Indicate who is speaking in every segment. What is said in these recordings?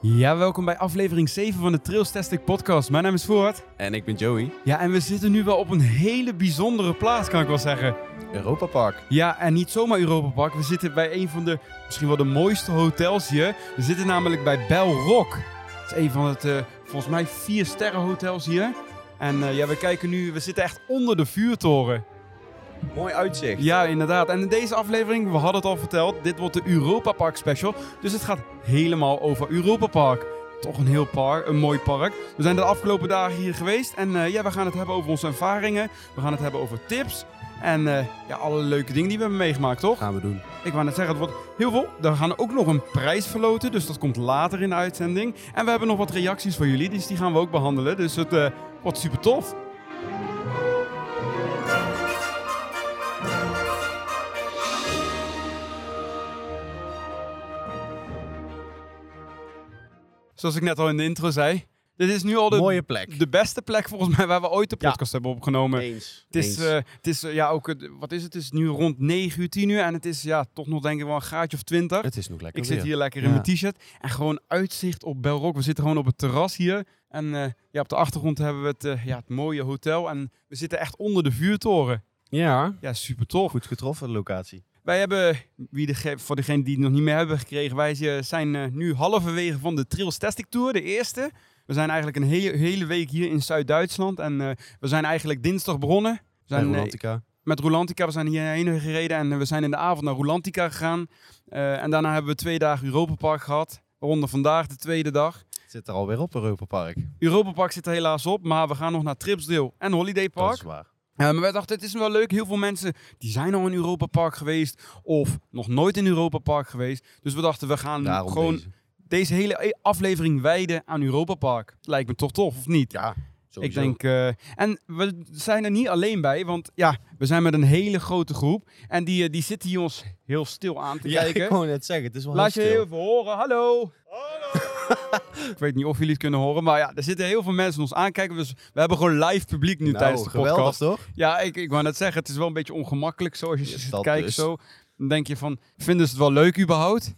Speaker 1: Ja, welkom bij aflevering 7 van de Trails Testing Podcast. Mijn naam is Voort.
Speaker 2: En ik ben Joey.
Speaker 1: Ja, en we zitten nu wel op een hele bijzondere plaats, kan ik wel zeggen.
Speaker 2: Europa Park.
Speaker 1: Ja, en niet zomaar Europa Park. We zitten bij een van de, misschien wel de mooiste hotels hier. We zitten namelijk bij Belrock. Het is een van het, eh, volgens mij, vier sterren hotels hier. En eh, ja, we kijken nu, we zitten echt onder de vuurtoren.
Speaker 2: Mooi uitzicht.
Speaker 1: Ja, inderdaad. En in deze aflevering, we hadden het al verteld, dit wordt de Europa Park special. Dus het gaat helemaal over Europa Park. Toch een heel park, een mooi park. We zijn de afgelopen dagen hier geweest en eh, ja, we gaan het hebben over onze ervaringen. We gaan het hebben over tips en eh, ja, alle leuke dingen die we hebben meegemaakt, toch?
Speaker 2: Gaan we doen.
Speaker 1: Ik wou net zeggen, het wordt heel veel. We gaan ook nog een prijs verloten, dus dat komt later in de uitzending. En we hebben nog wat reacties van jullie, dus die gaan we ook behandelen. Dus het eh, wordt super tof. Zoals ik net al in de intro zei, dit is nu al de,
Speaker 2: Mooie plek.
Speaker 1: de beste plek volgens mij waar we ooit de
Speaker 2: Ja.
Speaker 1: podcast hebben opgenomen.
Speaker 2: Eens.
Speaker 1: Het is, eh, het is eh, ja, ook, het- wat is het? Het is nu rond 9 uur, 10 uur en het is ja, toch nog denk ik wel een graadje of 20.
Speaker 2: het is nog lekker
Speaker 1: Ik zit
Speaker 2: weer.
Speaker 1: hier lekker in
Speaker 2: Ja.
Speaker 1: mijn t-shirt en gewoon uitzicht op Belrock. We zitten gewoon op het terras hier en eh, ja, op de achtergrond hebben we het, eh, ja, het mooie hotel en we zitten echt onder de vuurtoren.
Speaker 2: Ja.
Speaker 1: Ja, super tof.
Speaker 2: Goed getroffen, de locatie.
Speaker 1: Wij hebben, wie de, voor degenen die het nog niet meer hebben gekregen, wij eh, zijn eh, nu halverwege van de Trails Testing Tour, de eerste. We zijn eigenlijk een hele, hele week hier in Zuid-Duitsland en eh, we zijn eigenlijk dinsdag begonnen. We
Speaker 2: Bij
Speaker 1: zijn, eh,
Speaker 2: Romantica.
Speaker 1: met Rolantica. We zijn hierheen gereden en eh, we zijn in de avond naar Rolantica gegaan. Eh, en daarna hebben we twee dagen Europa Park gehad. Waaronder vandaag de tweede dag.
Speaker 2: Zit er alweer op, Europa Park.
Speaker 1: Europa Park zit er helaas op, maar we gaan nog naar Tripsdale en Holiday
Speaker 2: Dat
Speaker 1: Park.
Speaker 2: is waar.
Speaker 1: Eh, maar wij dachten, het is wel leuk. Heel veel mensen die zijn al in Europa Park geweest of nog nooit in Europa Park geweest. Dus we dachten, we gaan
Speaker 2: Daarom
Speaker 1: gewoon
Speaker 2: deze.
Speaker 1: deze hele e- aflevering wijden aan Europa Park. Lijkt me toch tof, of niet?
Speaker 2: Ja,
Speaker 1: Ik denk, eh, en we zijn er niet alleen bij, want ja, we zijn met een hele grote groep. En die, eh, die zitten hier ons heel stil aan te
Speaker 2: Ja, ik
Speaker 1: kijken.
Speaker 2: wou net zeggen, het is wel
Speaker 1: Laat je
Speaker 2: heel stil.
Speaker 1: heel even horen, hallo! Hallo! ik weet niet of jullie het kunnen horen, maar ja, er zitten heel veel mensen ons aankijken. Dus we hebben gewoon live publiek nu
Speaker 2: Nou,
Speaker 1: tijdens de
Speaker 2: geweldig,
Speaker 1: podcast.
Speaker 2: toch?
Speaker 1: Ja, ik, ik wou net zeggen, het is wel een beetje ongemakkelijk zo als je
Speaker 2: Is
Speaker 1: zit te
Speaker 2: dat
Speaker 1: kijken
Speaker 2: dus?
Speaker 1: zo. Dan denk je van, vinden ze het wel leuk überhaupt?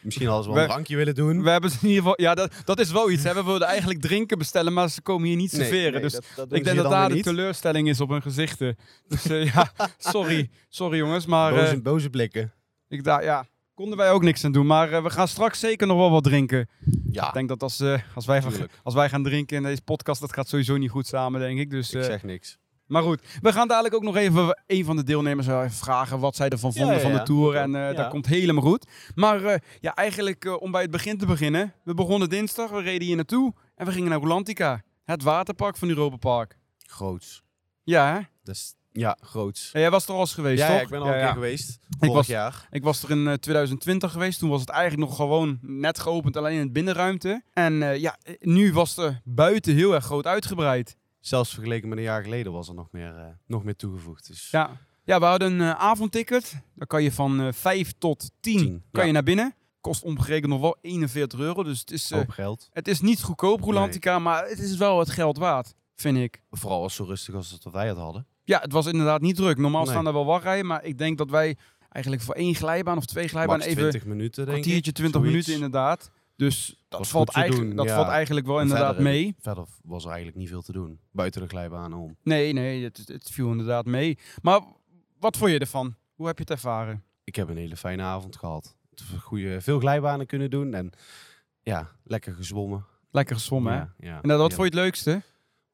Speaker 2: Misschien hadden ze wel
Speaker 1: We-
Speaker 2: een drankje willen doen.
Speaker 1: We hebben ze in ieder geval, ja, dat, dat is wel iets. Hè? We wilden eigenlijk drinken bestellen, maar ze komen hier niet serveren. dus ik denk dat daar de teleurstelling is op hun gezichten. Dus eh, ja, sorry. Sorry jongens, maar eh,
Speaker 2: Boze, boze blikken.
Speaker 1: ik daar, ja, konden wij ook niks aan doen. Maar eh, we gaan straks zeker nog wel wat drinken.
Speaker 2: Ja,
Speaker 1: Ik denk dat als, eh, als, wij, gaan,
Speaker 2: Ah. Tuurlijk.
Speaker 1: als wij gaan drinken in deze podcast, dat gaat sowieso niet goed samen, denk ik. Dus,
Speaker 2: ik
Speaker 1: eh,
Speaker 2: zeg niks.
Speaker 1: maar goed, we gaan dadelijk ook nog even een van de deelnemers wel even vragen wat zij ervan
Speaker 2: Ja,
Speaker 1: vonden
Speaker 2: ja,
Speaker 1: van de
Speaker 2: ja.
Speaker 1: tour.
Speaker 2: Goed
Speaker 1: En eh,
Speaker 2: ook.
Speaker 1: dat
Speaker 2: Ja.
Speaker 1: komt helemaal goed. Maar eh, ja, eigenlijk eh, om bij het begin te beginnen. We begonnen dinsdag, we reden hier naartoe en we gingen naar Rolantica. Het waterpark van Europa Park.
Speaker 2: Groots.
Speaker 1: Ja, hè?
Speaker 2: Dat is- ja, groots.
Speaker 1: En jij was er al eens geweest,
Speaker 2: Ja,
Speaker 1: toch?
Speaker 2: ja, ik ben al een keer geweest. Vorig
Speaker 1: was-
Speaker 2: jaar.
Speaker 1: Ik was er in eh, 2020 geweest. Toen was het eigenlijk nog gewoon net geopend, alleen in het binnenruimte. En eh, ja, eh, nu was de buiten heel erg groot uitgebreid.
Speaker 2: Zelfs vergeleken met een jaar geleden was er nog meer, eh, nog meer toegevoegd. Dus
Speaker 1: Ja, ja we hadden een eh, avondticket. Dan kan je van eh 5 tot 10
Speaker 2: Tien,
Speaker 1: kan
Speaker 2: ja.
Speaker 1: je naar binnen. Kost omgerekend nog wel 41 euro. Dus het is, eh,
Speaker 2: hoop geld.
Speaker 1: het is niet goedkoop, Rolantica, maar het is wel het geld waard, vind ik.
Speaker 2: Vooral als zo rustig als dat wij het hadden.
Speaker 1: Ja, het was inderdaad niet druk. Normaal
Speaker 2: Nee.
Speaker 1: staan er wel wachtrijen, maar ik denk dat wij eigenlijk voor één glijbaan of twee glijbaan
Speaker 2: Max
Speaker 1: even
Speaker 2: 20 minuten, denk ik.
Speaker 1: kwartiertje, 20
Speaker 2: zoiets.
Speaker 1: minuten inderdaad. Dus dat,
Speaker 2: Was
Speaker 1: valt
Speaker 2: goed te
Speaker 1: eigenlijk,
Speaker 2: doen,
Speaker 1: dat
Speaker 2: ja.
Speaker 1: valt eigenlijk wel
Speaker 2: En
Speaker 1: inderdaad
Speaker 2: verder, eh,
Speaker 1: mee.
Speaker 2: Verder was er eigenlijk niet veel te doen. Buiten de glijbanen om.
Speaker 1: Nee, nee, het, het viel inderdaad mee. Maar wat vond je ervan? Hoe heb je het ervaren?
Speaker 2: Ik heb een hele fijne avond gehad. Goeie, veel glijbanen kunnen doen. En ja, lekker gezwommen.
Speaker 1: Lekker gezwommen, hè?
Speaker 2: Ja, ja.
Speaker 1: Inderdaad, wat
Speaker 2: Heerlijk.
Speaker 1: vond je het leukste?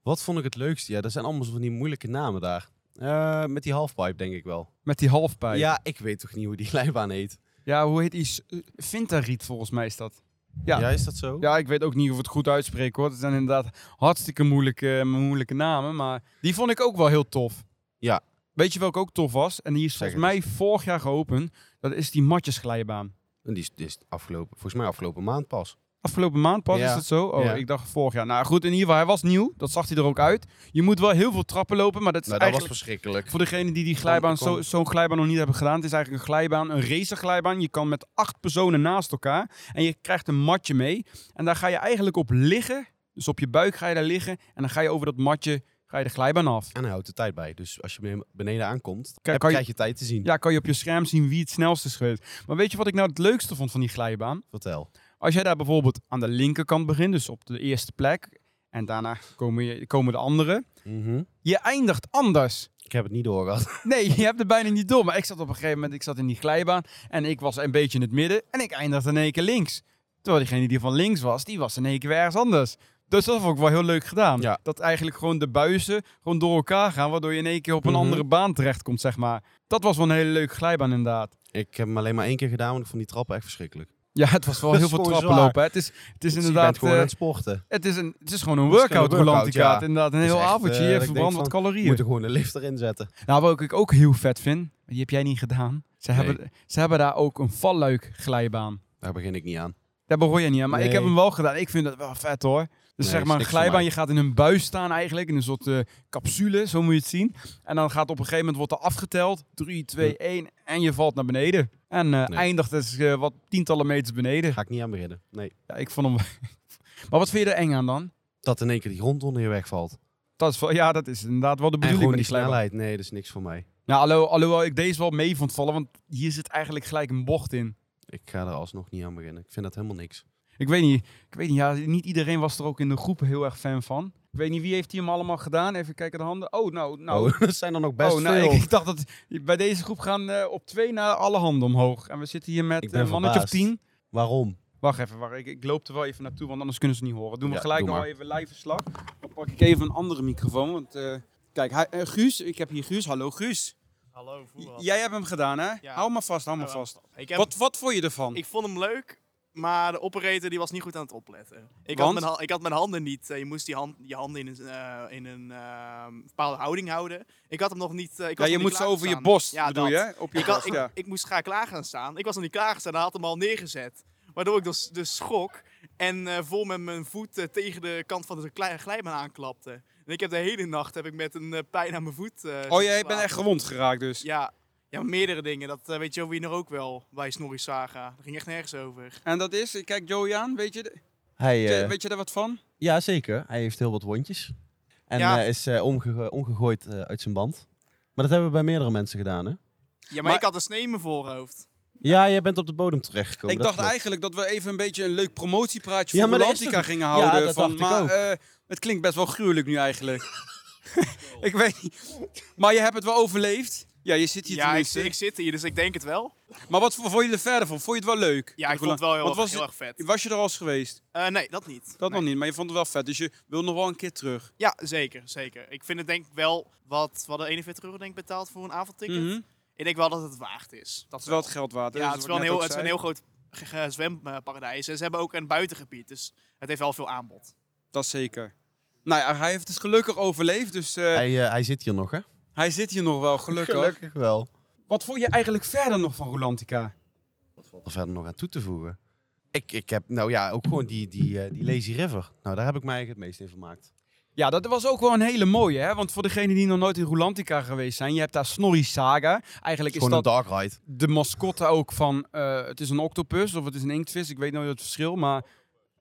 Speaker 2: Wat vond ik het leukste? Ja, dat zijn allemaal zo van die moeilijke namen daar. Eh, met die halfpipe denk ik wel.
Speaker 1: Met die halfpijp. Ja.
Speaker 2: Ja, ik weet toch niet hoe die glijbaan heet.
Speaker 1: hoe heet die? S- eh, Vintariet volgens mij is dat. Ja.
Speaker 2: Ja, is dat zo?
Speaker 1: Ja, ik weet ook niet of we het goed uitspreken hoor. Het zijn inderdaad hartstikke moeilijke, eh, moeilijke namen. Maar die vond ik ook wel heel tof.
Speaker 2: Ja.
Speaker 1: Weet je welke ook tof was? En die is
Speaker 2: Zeg
Speaker 1: volgens
Speaker 2: het
Speaker 1: mij vorig jaar geopend. Dat is die matjesglijbaan.
Speaker 2: En die is, die is afgelopen, volgens mij afgelopen maand pas.
Speaker 1: Afgelopen maand pas,
Speaker 2: Ja.
Speaker 1: is dat zo? Oh,
Speaker 2: Ja.
Speaker 1: ik dacht vorig jaar. Nou goed, in ieder geval, hij was nieuw. Dat zag hij er ook uit. Je moet wel heel veel trappen lopen, maar dat is
Speaker 2: Nou, dat was
Speaker 1: eigenlijk...
Speaker 2: verschrikkelijk.
Speaker 1: Voor degene die die glijbaan,
Speaker 2: kwam-
Speaker 1: zo- zo'n glijbaan nog niet hebben gedaan. Het is eigenlijk een glijbaan, een racerglijbaan. Je kan met acht personen naast elkaar. En je krijgt een matje mee. En daar ga je eigenlijk op liggen. Dus op je buik ga je daar liggen. En dan ga je over dat matje ga je de glijbaan af.
Speaker 2: En hij houdt de tijd bij. Dus als je beneden- beneden aankomt,
Speaker 1: Kan-
Speaker 2: heb,
Speaker 1: kan je-
Speaker 2: krijg je tijd te zien.
Speaker 1: Ja, kan je op je scherm zien wie het snelst is geweest. Maar weet je wat ik nou het leukste vond van die glijbaan?
Speaker 2: Vertel.
Speaker 1: Als jij daar bijvoorbeeld aan de linkerkant begint, dus op de eerste plek, en daarna komen, je, komen de anderen,
Speaker 2: Mhm.
Speaker 1: je eindigt anders.
Speaker 2: Ik heb het niet doorgehad.
Speaker 1: Nee, je hebt het bijna niet door. Maar ik zat op een gegeven moment, ik zat in die glijbaan en ik was een beetje in het midden en ik eindigde in één keer links. Terwijl diegene die van links was, die was in één keer weer ergens anders. Dus dat vond ik wel heel leuk gedaan.
Speaker 2: Ja.
Speaker 1: Dat eigenlijk gewoon de buizen gewoon door elkaar gaan, waardoor je in één keer op een
Speaker 2: Mhm.
Speaker 1: andere baan terechtkomt, zeg maar. Dat was wel een hele leuke glijbaan inderdaad.
Speaker 2: Ik heb hem alleen maar één keer gedaan, want ik vond die trappen echt verschrikkelijk.
Speaker 1: Ja, het was wel
Speaker 2: Dat
Speaker 1: heel
Speaker 2: is
Speaker 1: veel
Speaker 2: gewoon
Speaker 1: trappen
Speaker 2: zwaar.
Speaker 1: lopen. hè. Het is, het is
Speaker 2: Dus je
Speaker 1: Dus inderdaad
Speaker 2: bent gewoon
Speaker 1: eh,
Speaker 2: aan het sporten.
Speaker 1: het is een, het is gewoon een
Speaker 2: Het is gewoon
Speaker 1: workout
Speaker 2: een
Speaker 1: rolant die
Speaker 2: workout,
Speaker 1: kaart.
Speaker 2: ja.
Speaker 1: Inderdaad, een
Speaker 2: Het is
Speaker 1: heel
Speaker 2: echt,
Speaker 1: avondje.
Speaker 2: eh,
Speaker 1: je
Speaker 2: dat ik denk
Speaker 1: verbrandt wat
Speaker 2: van,
Speaker 1: calorieën.
Speaker 2: Je moet er gewoon een lift erin zetten.
Speaker 1: Nou, wat ik ook heel vet vind, die heb jij niet gedaan. Ze,
Speaker 2: Nee.
Speaker 1: hebben, ze hebben daar ook een valluik glijbaan.
Speaker 2: Daar begin ik niet aan.
Speaker 1: Daar behoor je niet aan, maar ik heb
Speaker 2: Nee.
Speaker 1: hem wel gedaan. Ik vind dat wel vet hoor. Dus
Speaker 2: Nee,
Speaker 1: zeg
Speaker 2: is
Speaker 1: maar een
Speaker 2: niks voor
Speaker 1: glijbaan,
Speaker 2: mij.
Speaker 1: je gaat in een buis staan eigenlijk, in een soort eh, capsule, zo moet je het zien. En dan gaat op een gegeven moment wordt er afgeteld, 3, 2, 1 en je valt naar beneden. En eh,
Speaker 2: Nee.
Speaker 1: eindigt dus eh, wat tientallen meters beneden.
Speaker 2: Ga ik niet aan beginnen. Nee.
Speaker 1: Ja, ik vond hem... maar wat vind je er eng aan dan?
Speaker 2: Dat in één keer die grond onder je wegvalt.
Speaker 1: Dat is wel, ja, dat is inderdaad wel de
Speaker 2: En
Speaker 1: bedoeling
Speaker 2: gewoon
Speaker 1: met
Speaker 2: die
Speaker 1: die glijbaan.
Speaker 2: snelheid. Nee, dat is niks voor mij.
Speaker 1: Nou, allo- alhoewel ik deze wel mee vond vallen, want hier zit eigenlijk gelijk een bocht in.
Speaker 2: Ik ga er alsnog niet aan beginnen. Ik vind dat helemaal niks.
Speaker 1: Ik weet niet, ik weet niet, ja, niet iedereen was er ook in de groep heel erg fan van. Ik weet niet, wie heeft die hem allemaal gedaan? Even kijken de handen. Oh, nou, nou.
Speaker 2: oh, dat zijn dan ook best
Speaker 1: oh, nou,
Speaker 2: veel.
Speaker 1: Ik, ik dacht dat bij deze groep gaan eh, op twee naar alle handen omhoog. En we zitten hier met
Speaker 2: Ik
Speaker 1: een
Speaker 2: ben
Speaker 1: mannetje of
Speaker 2: verbaasd.
Speaker 1: tien.
Speaker 2: Waarom?
Speaker 1: Wacht even, wacht, ik, ik loop er wel even naartoe, want anders kunnen ze niet horen. Doen we
Speaker 2: Ja,
Speaker 1: gelijk
Speaker 2: doe
Speaker 1: nog
Speaker 2: maar.
Speaker 1: even live verslag. Dan pak ik even een andere microfoon, want eh, kijk, hij, eh, Guus, ik heb hier Guus. Hallo Guus.
Speaker 3: Hallo, voetbal.
Speaker 1: J- Jij hebt hem gedaan, hè?
Speaker 3: Ja.
Speaker 1: Hou maar vast, hou maar
Speaker 3: Ja,
Speaker 1: vast.
Speaker 3: Ik, heb,
Speaker 1: Wat, wat vond je ervan?
Speaker 3: ik vond hem leuk, maar de operator die was niet goed aan het opletten. Ik,
Speaker 1: Want?
Speaker 3: Had, mijn, ha- ik had mijn handen niet. eh, je moest die hand, je handen in een, eh, in een eh, bepaalde houding houden. Ik had hem nog niet. eh, ik
Speaker 1: ja, je
Speaker 3: was nog niet
Speaker 1: moet zo
Speaker 3: klaar
Speaker 1: over je
Speaker 3: gestaan.
Speaker 1: borst,
Speaker 3: Ja,
Speaker 1: bedoel
Speaker 3: dat.
Speaker 1: je? hè? Op je
Speaker 3: Ik, had,
Speaker 1: borst, ja.
Speaker 3: ik, ik moest graag klaar gaan staan. Ik was nog niet klaar gestaan. Hij had hem al neergezet. Waardoor ik dus, dus schok en eh, vol met mijn voet eh, tegen de kant van de klei- glijbaan aanklapte. En ik heb de hele nacht heb ik met een eh, pijn aan mijn voet. eh,
Speaker 1: Oh,
Speaker 3: zitten
Speaker 1: jij bent
Speaker 3: slapen.
Speaker 1: echt gewond geraakt dus.
Speaker 3: Ja, ja meerdere dingen. Dat eh, weet Joey nog ook wel bij Snorri Saga. Dat ging echt nergens over.
Speaker 1: En dat is, ik kijk Joey aan, weet je, de-
Speaker 4: Hij, eh
Speaker 1: weet je daar wat van?
Speaker 4: ja, zeker. Hij heeft heel wat wondjes. En
Speaker 3: Ja.
Speaker 4: eh, is eh, omge- omgegooid eh, uit zijn band. Maar dat hebben we bij meerdere mensen gedaan, hè?
Speaker 3: Ja, maar,
Speaker 1: Maar-
Speaker 3: ik had een snee in mijn voorhoofd.
Speaker 4: Ja, jij bent op de bodem terechtgekomen.
Speaker 1: ik
Speaker 4: dat
Speaker 1: dacht
Speaker 4: klopt.
Speaker 1: eigenlijk dat we even een beetje een leuk promotiepraatje
Speaker 4: Ja,
Speaker 1: voor
Speaker 4: maar dat is
Speaker 1: Atlantica
Speaker 4: toch-
Speaker 1: gingen
Speaker 4: Ja,
Speaker 1: houden.
Speaker 4: dat
Speaker 1: van,
Speaker 4: dacht ik
Speaker 1: maar
Speaker 4: ook.
Speaker 1: eh, het klinkt best wel gruwelijk nu eigenlijk. ik weet niet. Maar je hebt het wel overleefd. Ja, je zit hier
Speaker 3: Ja, ik,
Speaker 1: tenminste.
Speaker 3: ik zit hier, dus ik denk het wel.
Speaker 1: Maar wat v- vond je er verder van? Vond je het wel leuk?
Speaker 3: Ja, ik vond het wel heel,
Speaker 1: Wat
Speaker 3: erg-
Speaker 1: was
Speaker 3: heel
Speaker 1: het-
Speaker 3: erg vet.
Speaker 1: Was je er al eens geweest?
Speaker 3: Eh, nee, dat niet.
Speaker 1: Dat
Speaker 3: Nee.
Speaker 1: nog niet, maar je vond het wel vet. Dus je wil nog wel een keer terug.
Speaker 3: Ja, zeker, zeker. Ik vind het denk ik wel wat, wat de 41 euro denk ik betaald voor een avondticket.
Speaker 1: Mhm.
Speaker 3: Ik denk wel dat het waard is. Dat
Speaker 1: Het is wel het geld waard. hè?
Speaker 3: Ja, het
Speaker 1: Dat
Speaker 3: is
Speaker 1: wat
Speaker 3: wel
Speaker 1: ik
Speaker 3: een
Speaker 1: net
Speaker 3: heel,
Speaker 1: ook
Speaker 3: het is een
Speaker 1: zei.
Speaker 3: heel groot eh, ge- ge- zwemparadijs. En ze hebben ook een buitengebied, dus het heeft wel veel aanbod.
Speaker 1: Dat zeker. Nou ja, hij heeft het gelukkig overleefd, dus eh, hij...
Speaker 4: Hij, eh, hij zit hier nog, hè?
Speaker 1: zit hier nog wel, gelukkig.
Speaker 4: Gelukkig wel.
Speaker 1: Wat vond je eigenlijk verder nog van Rolantica?
Speaker 2: Wat valt er verder nog aan toe te voegen? Ik, ik heb, nou ja, ook gewoon die, die, eh, die Lazy River. Nou, daar heb ik mij eigenlijk het meest in vermaakt.
Speaker 1: Ja, dat was ook wel een hele mooie, hè? Want voor degenen die nog nooit in Rolantica geweest zijn, je hebt daar Snorri Saga. Eigenlijk is
Speaker 2: gewoon
Speaker 1: dat
Speaker 2: een dark ride.
Speaker 1: de mascotte ook van, eh, het is een octopus of het is een inktvis, ik weet nooit het verschil, maar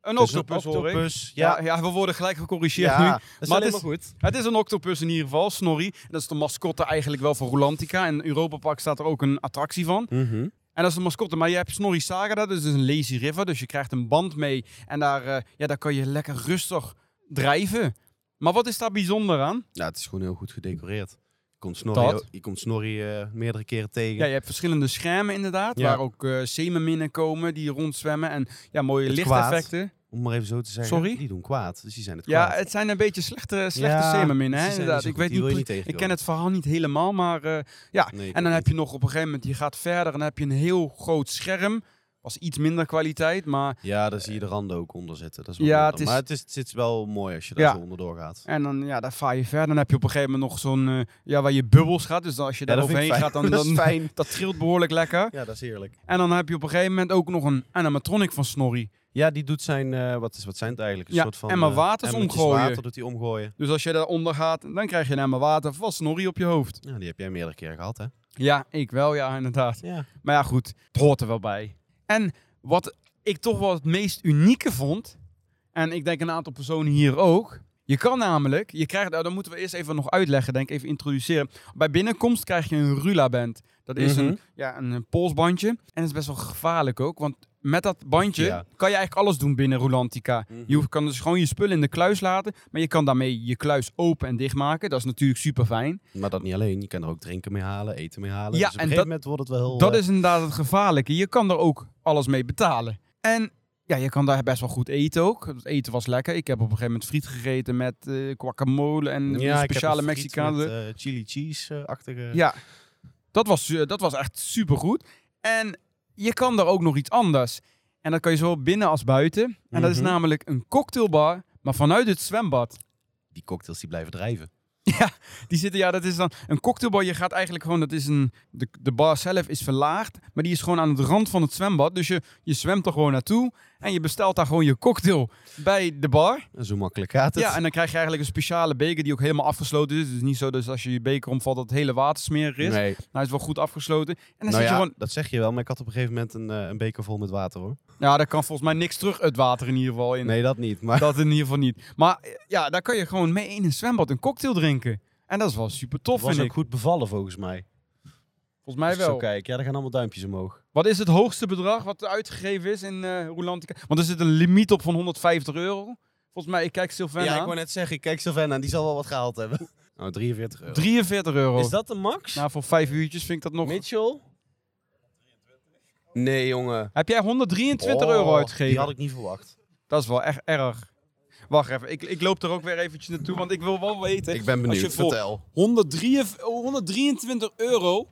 Speaker 1: een
Speaker 2: Dus
Speaker 1: octopus, hoor ik.
Speaker 2: octopus,
Speaker 1: Ja.
Speaker 2: Ja,
Speaker 1: Ja, we worden gelijk gecorrigeerd
Speaker 2: Ja,
Speaker 1: nu.
Speaker 2: dat is
Speaker 1: Maar
Speaker 2: alleen
Speaker 1: het
Speaker 2: maar goed.
Speaker 1: Het is een octopus in ieder geval, Snorri. En Dat is de mascotte eigenlijk wel van Rolantica. En Europa Park staat er ook een attractie van.
Speaker 2: Mhm.
Speaker 1: En dat is de mascotte. Maar je hebt Snorri Saga, daar, dus dat is een lazy river. Dus je krijgt een band mee. En daar, eh, ja, daar kan je lekker rustig drijven. Maar wat is daar bijzonder aan?
Speaker 2: Ja, het is gewoon heel goed gedecoreerd. Je komt Snorri,
Speaker 1: Dat.
Speaker 2: je komt Snorri eh, meerdere keren tegen.
Speaker 1: Ja, je hebt verschillende schermen inderdaad.
Speaker 2: Ja.
Speaker 1: Waar ook eh zeemerminnen komen die rondzwemmen. En ja, mooie
Speaker 2: Het
Speaker 1: lichteffecten.
Speaker 2: Om maar even zo te zeggen.
Speaker 1: Sorry?
Speaker 2: Die doen kwaad. Dus die zijn het
Speaker 1: Ja,
Speaker 2: kwaad.
Speaker 1: het zijn een beetje slechte, slechte
Speaker 2: Ja,
Speaker 1: zeemerminnen. Hè,
Speaker 2: ze zijn
Speaker 1: inderdaad.
Speaker 2: niet zo
Speaker 1: Ik,
Speaker 2: goed.
Speaker 1: weet
Speaker 2: Die wil je
Speaker 1: niet,
Speaker 2: niet
Speaker 1: pre- ik ken
Speaker 2: tegenkomen.
Speaker 1: het verhaal niet helemaal. Maar eh, ja,
Speaker 2: Nee, ik
Speaker 1: En
Speaker 2: ook
Speaker 1: dan heb je
Speaker 2: niet.
Speaker 1: nog op een gegeven moment, je gaat verder en dan heb je een heel groot scherm. Was iets minder kwaliteit, maar...
Speaker 2: Ja, daar zie je de randen ook onder zitten. Dat is wel
Speaker 1: Ja,
Speaker 2: minder.
Speaker 1: het is-
Speaker 2: Maar het, is, het zit wel mooi als je daar
Speaker 1: Ja.
Speaker 2: zo onderdoor gaat.
Speaker 1: En dan, ja, daar vaar je verder. Dan heb je op een gegeven moment nog zo'n, eh, ja, waar je bubbels gaat. Dus dan, als je daar
Speaker 2: dat vind ik
Speaker 1: overheen
Speaker 2: fijn.
Speaker 1: gaat, dan,
Speaker 2: dat is
Speaker 1: dan
Speaker 2: fijn.
Speaker 1: dat trilt behoorlijk lekker.
Speaker 2: Ja, dat is heerlijk.
Speaker 1: En dan heb je op een gegeven moment ook nog een animatronic van Snorri.
Speaker 2: Ja, die doet zijn, eh, wat, is, wat zijn het eigenlijk? Een
Speaker 1: Ja,
Speaker 2: soort van,
Speaker 1: emmer
Speaker 2: eh,
Speaker 1: waters
Speaker 2: emmertjes
Speaker 1: omgooien.
Speaker 2: water doet hij omgooien.
Speaker 1: Dus als je daaronder gaat, dan krijg je een emmer water van Snorri op je hoofd.
Speaker 2: Ja, die heb jij meerdere keren gehad, hè?
Speaker 1: Ja, ik wel, ja, inderdaad.
Speaker 2: Ja.
Speaker 1: Maar ja, goed, het hoort er wel bij. En wat ik toch wel het meest unieke vond, en ik denk een aantal personen hier ook, Je kan namelijk, je krijgt, nou, dat moeten we eerst even nog uitleggen, denk ik, even introduceren. Bij binnenkomst krijg je een rula-band. Dat is
Speaker 4: Mhm.
Speaker 1: een, ja, een eh, polsbandje. En dat is best wel gevaarlijk ook, want met dat bandje
Speaker 4: Ja.
Speaker 1: kan je eigenlijk alles doen binnen Rulantica. Je hoeft- kan dus gewoon je spullen in de kluis laten, maar je kan daarmee je kluis open en dichtmaken. Dat is natuurlijk super fijn.
Speaker 2: Maar dat niet alleen. Je kan er ook drinken mee halen, eten mee halen.
Speaker 1: Ja,
Speaker 2: dus op een
Speaker 1: en
Speaker 2: gegeven
Speaker 1: dat-
Speaker 2: moment wordt het wel heel...
Speaker 1: Dat
Speaker 2: eh,
Speaker 1: is inderdaad het gevaarlijke. Je kan er ook alles mee betalen. En ja, je kan daar best wel goed eten ook. Het eten was lekker. Ik heb op een gegeven moment friet gegeten met eh guacamole en
Speaker 2: ja, ik heb
Speaker 1: speciale
Speaker 2: een friet
Speaker 1: Mexicaanse...
Speaker 2: met, eh, chili cheese-achtige...
Speaker 1: Ja, dat was, eh, dat was echt supergoed. En je kan er ook nog iets anders. En dat kan je zowel binnen als buiten. En dat is
Speaker 2: Mhm.
Speaker 1: namelijk een cocktailbar, maar vanuit het zwembad.
Speaker 2: Die cocktails die blijven drijven.
Speaker 1: Die zitten, ja, dat is dan een cocktailbar. Je gaat eigenlijk gewoon, dat is een, de, de bar zelf is verlaagd, maar die is gewoon aan het rand van het zwembad. Dus je, je zwemt er gewoon naartoe en je bestelt daar gewoon je cocktail bij de bar.
Speaker 2: En zo makkelijk gaat het.
Speaker 1: Ja, en dan krijg je eigenlijk een speciale beker die ook helemaal afgesloten is. Het is niet zo dat als je je beker omvalt dat het hele water smerig is.
Speaker 2: Nee,
Speaker 1: Maar hij is wel goed afgesloten. En dan
Speaker 2: nou
Speaker 1: zit je
Speaker 2: ja,
Speaker 1: gewoon
Speaker 2: dat zeg je wel, maar ik had op een gegeven moment een, eh, een beker vol met water hoor.
Speaker 1: Ja, daar kan volgens mij niks terug het water in ieder geval in.
Speaker 2: Nee, dat niet. Maar
Speaker 1: Dat in ieder geval niet. Maar eh, ja, daar kan je gewoon mee in een zwembad een cocktail drinken. En dat is wel super tof,
Speaker 2: was
Speaker 1: vind
Speaker 2: ook eh,
Speaker 1: ik.
Speaker 2: goed bevallen volgens mij.
Speaker 1: Volgens mij
Speaker 2: Als ik Zo
Speaker 1: wel.
Speaker 2: kijk, ja, daar gaan allemaal duimpjes omhoog.
Speaker 1: Wat is het hoogste bedrag wat er uitgegeven is in eh Roelantica? Want er zit een limiet op van 150 euro. Volgens mij, ik kijk Sylvain
Speaker 2: ja, ik
Speaker 1: aan.
Speaker 2: wou net zeggen, ik kijk Sylvana, die zal wel wat gehaald hebben. Oh, 43 euro.
Speaker 1: 43 euro.
Speaker 2: Is dat de max?
Speaker 1: Nou, voor vijf uurtjes vind ik dat nog...
Speaker 2: Mitchell? Nee, jongen.
Speaker 1: Heb jij 123 euro
Speaker 2: Oh,
Speaker 1: uitgegeven?
Speaker 2: Die had ik niet verwacht.
Speaker 1: Dat is wel echt erg. Wacht even, ik, ik loop er ook weer eventjes naartoe, want ik wil wel weten...
Speaker 2: Ik ben benieuwd.
Speaker 1: Als je vol-
Speaker 2: Vertel.
Speaker 1: 103 oh, 123 euro.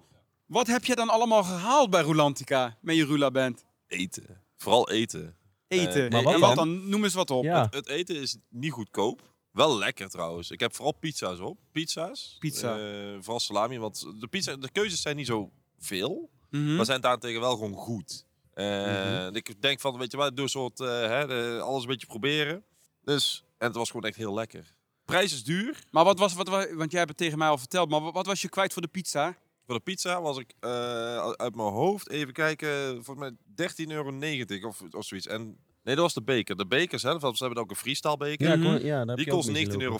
Speaker 1: Wat heb je dan allemaal gehaald bij Rulantica met je Rula Band?
Speaker 5: Eten. Vooral eten.
Speaker 1: Eten.
Speaker 5: Eh,
Speaker 1: maar
Speaker 5: maar
Speaker 1: wat
Speaker 5: wat
Speaker 1: en wat dan? Noem eens wat op.
Speaker 4: Ja.
Speaker 5: Het eten is niet goedkoop. Wel lekker trouwens. Ik heb vooral pizza's op. Pizza's.
Speaker 1: Pizza.
Speaker 5: Eh, vooral salami. Want de, pizza, de keuzes zijn niet zo veel.
Speaker 1: Mhm.
Speaker 5: Maar zijn daarentegen wel gewoon goed. Eh, Ik denk van, weet je wat, doe een soort, eh, hè, de- alles een beetje proberen. Dus, en het was gewoon echt heel lekker. Prijs is duur.
Speaker 1: Maar wat was, wat, wa- want jij hebt het tegen mij al verteld, maar wa- wat, was je kwijt voor de pizza?
Speaker 5: Voor de pizza was ik eh, uit mijn hoofd, even kijken, volgens mij 13,90 euro of, of zoiets. En, nee, dat was de beker. De beker zelf, want ze hebben ook een freestyle beker.
Speaker 4: Ja,
Speaker 1: Mhm.
Speaker 4: kon- ja, daar heb
Speaker 5: Die
Speaker 4: je ook
Speaker 5: kost 19,50
Speaker 4: misgelopen.
Speaker 5: euro.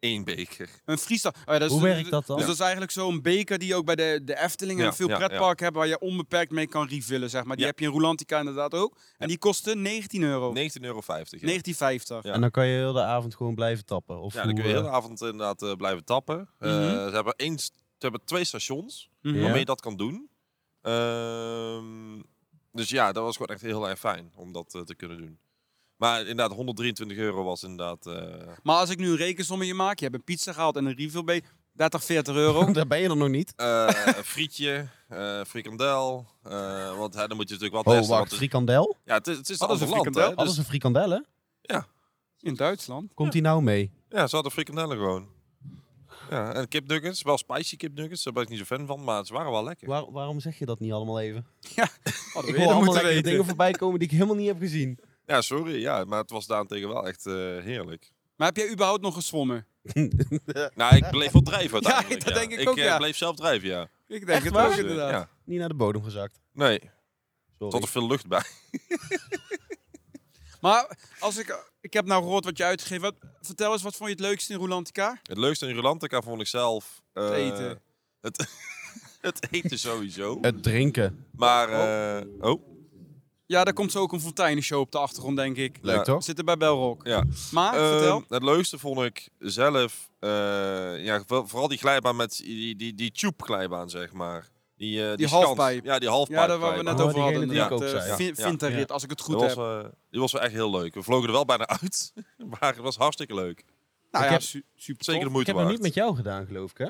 Speaker 5: Eén beker.
Speaker 1: Een freestyle. Oh ja, dat is-
Speaker 4: Hoe werkt dat dan?
Speaker 1: Dus dat is eigenlijk zo'n beker die je ook bij de, de Efteling en
Speaker 5: Ja,
Speaker 1: veel
Speaker 5: ja,
Speaker 1: pretparken hebben waar je onbeperkt mee kan refillen, zeg maar. Die
Speaker 5: Ja.
Speaker 1: heb je in Rulantica inderdaad ook. En die kostte 19 euro.
Speaker 5: 19,50 euro. Ja.
Speaker 1: 1950.
Speaker 5: Ja.
Speaker 4: En dan kan je heel de avond gewoon blijven tappen. Of
Speaker 5: Ja, dan kun je de
Speaker 4: hoe,
Speaker 5: hele avond inderdaad eh, blijven tappen. Eh,
Speaker 1: Mhm.
Speaker 5: ze, hebben één, st- ze hebben twee stations.
Speaker 1: Mhm.
Speaker 5: waarmee je dat kan doen. Ehm, dus ja, dat was gewoon echt heel erg fijn om dat eh, te kunnen doen. Maar inderdaad, 123 euro was inderdaad... eh,
Speaker 1: Maar als ik nu een rekensommetje maak, je hebt een pizza gehaald en een refill bij 30, 40 euro.
Speaker 4: eh, Daar ben je er nog niet.
Speaker 5: eh, een frietje, eh frikandel. eh, want hè, dan moet je natuurlijk wel
Speaker 4: Oh,
Speaker 5: testen.
Speaker 4: wacht.
Speaker 5: want het-
Speaker 4: Frikandel?
Speaker 5: ja, het is, het is een
Speaker 1: Hadden
Speaker 5: ander
Speaker 1: ze
Speaker 5: land, hè.
Speaker 1: frikandel?
Speaker 5: Dus,
Speaker 4: Alles een frikandel, hè?
Speaker 1: In Duitsland.
Speaker 4: Komt die nou mee?
Speaker 5: ja, ze hadden frikandellen gewoon. Ja, en kipnuggets, wel spicy kipnuggets. Daar ben ik niet zo fan van, maar ze waren wel lekker.
Speaker 4: Waar- waarom zeg je dat niet allemaal even?
Speaker 1: Hadden
Speaker 4: Ik
Speaker 1: we
Speaker 4: wil
Speaker 1: eerder
Speaker 4: allemaal
Speaker 1: moeten
Speaker 4: lekkere
Speaker 1: weten.
Speaker 4: dingen voorbij komen die ik helemaal niet heb gezien.
Speaker 5: Ja, sorry, ja, maar het was daarentegen wel echt eh, heerlijk.
Speaker 1: Maar heb jij überhaupt nog gezwommen?
Speaker 5: Nou, ik bleef wel drijven
Speaker 1: Ja,
Speaker 5: uiteindelijk.
Speaker 1: dat denk ik
Speaker 5: ik
Speaker 1: ook,
Speaker 5: eh,
Speaker 1: ja.
Speaker 5: bleef zelf drijven, ja.
Speaker 1: Ik denk
Speaker 4: Echt
Speaker 1: het
Speaker 4: waar?
Speaker 1: ook
Speaker 5: Dus, eh,
Speaker 1: inderdaad.
Speaker 5: ja.
Speaker 4: Niet naar de bodem gezakt.
Speaker 5: Nee,
Speaker 4: Sorry.
Speaker 5: tot er veel lucht bij.
Speaker 1: Maar als ik, ik heb nou gehoord wat je uitgegeven hebt. Vertel eens, wat vond je het leukste in Rolantica?
Speaker 5: Het leukste in Rulantica vond ik zelf... eh,
Speaker 1: Het eten.
Speaker 5: Het, het eten sowieso.
Speaker 2: Het drinken.
Speaker 5: Maar, eh, oh,
Speaker 1: Ja, daar komt zo ook een fonteinenshow op de achtergrond, denk ik.
Speaker 2: Leuk
Speaker 5: Ja.
Speaker 2: toch?
Speaker 1: Zitten bij Belrock.
Speaker 5: ja.
Speaker 1: Maar, Ah, vertel.
Speaker 5: Ehm, het leukste vond ik zelf... eh, ja, wel- vooral die glijbaan met die, die, die tube glijbaan, zeg maar. Die, eh, die, schans.
Speaker 1: halfpijp.
Speaker 5: Ja, die halfpijp.
Speaker 1: Ja, daar waar we net
Speaker 5: glijbaan.
Speaker 4: Oh,
Speaker 1: over
Speaker 4: diegene
Speaker 1: hadden.
Speaker 4: die ik
Speaker 1: inderdaad,
Speaker 4: ook zei.
Speaker 1: eh, vin-
Speaker 5: Ja, ja.
Speaker 1: Vinterrit, als ik het goed
Speaker 5: Dat was,
Speaker 1: heb.
Speaker 5: eh, die was wel echt heel leuk. We vlogen er wel bijna uit. Maar het was hartstikke leuk.
Speaker 1: nou
Speaker 4: ik
Speaker 1: ja,
Speaker 4: heb-
Speaker 1: su- super
Speaker 5: Zeker de
Speaker 1: tof.
Speaker 5: moeite
Speaker 4: Ik heb
Speaker 5: waard.
Speaker 4: hem niet met jou gedaan, geloof ik, hè?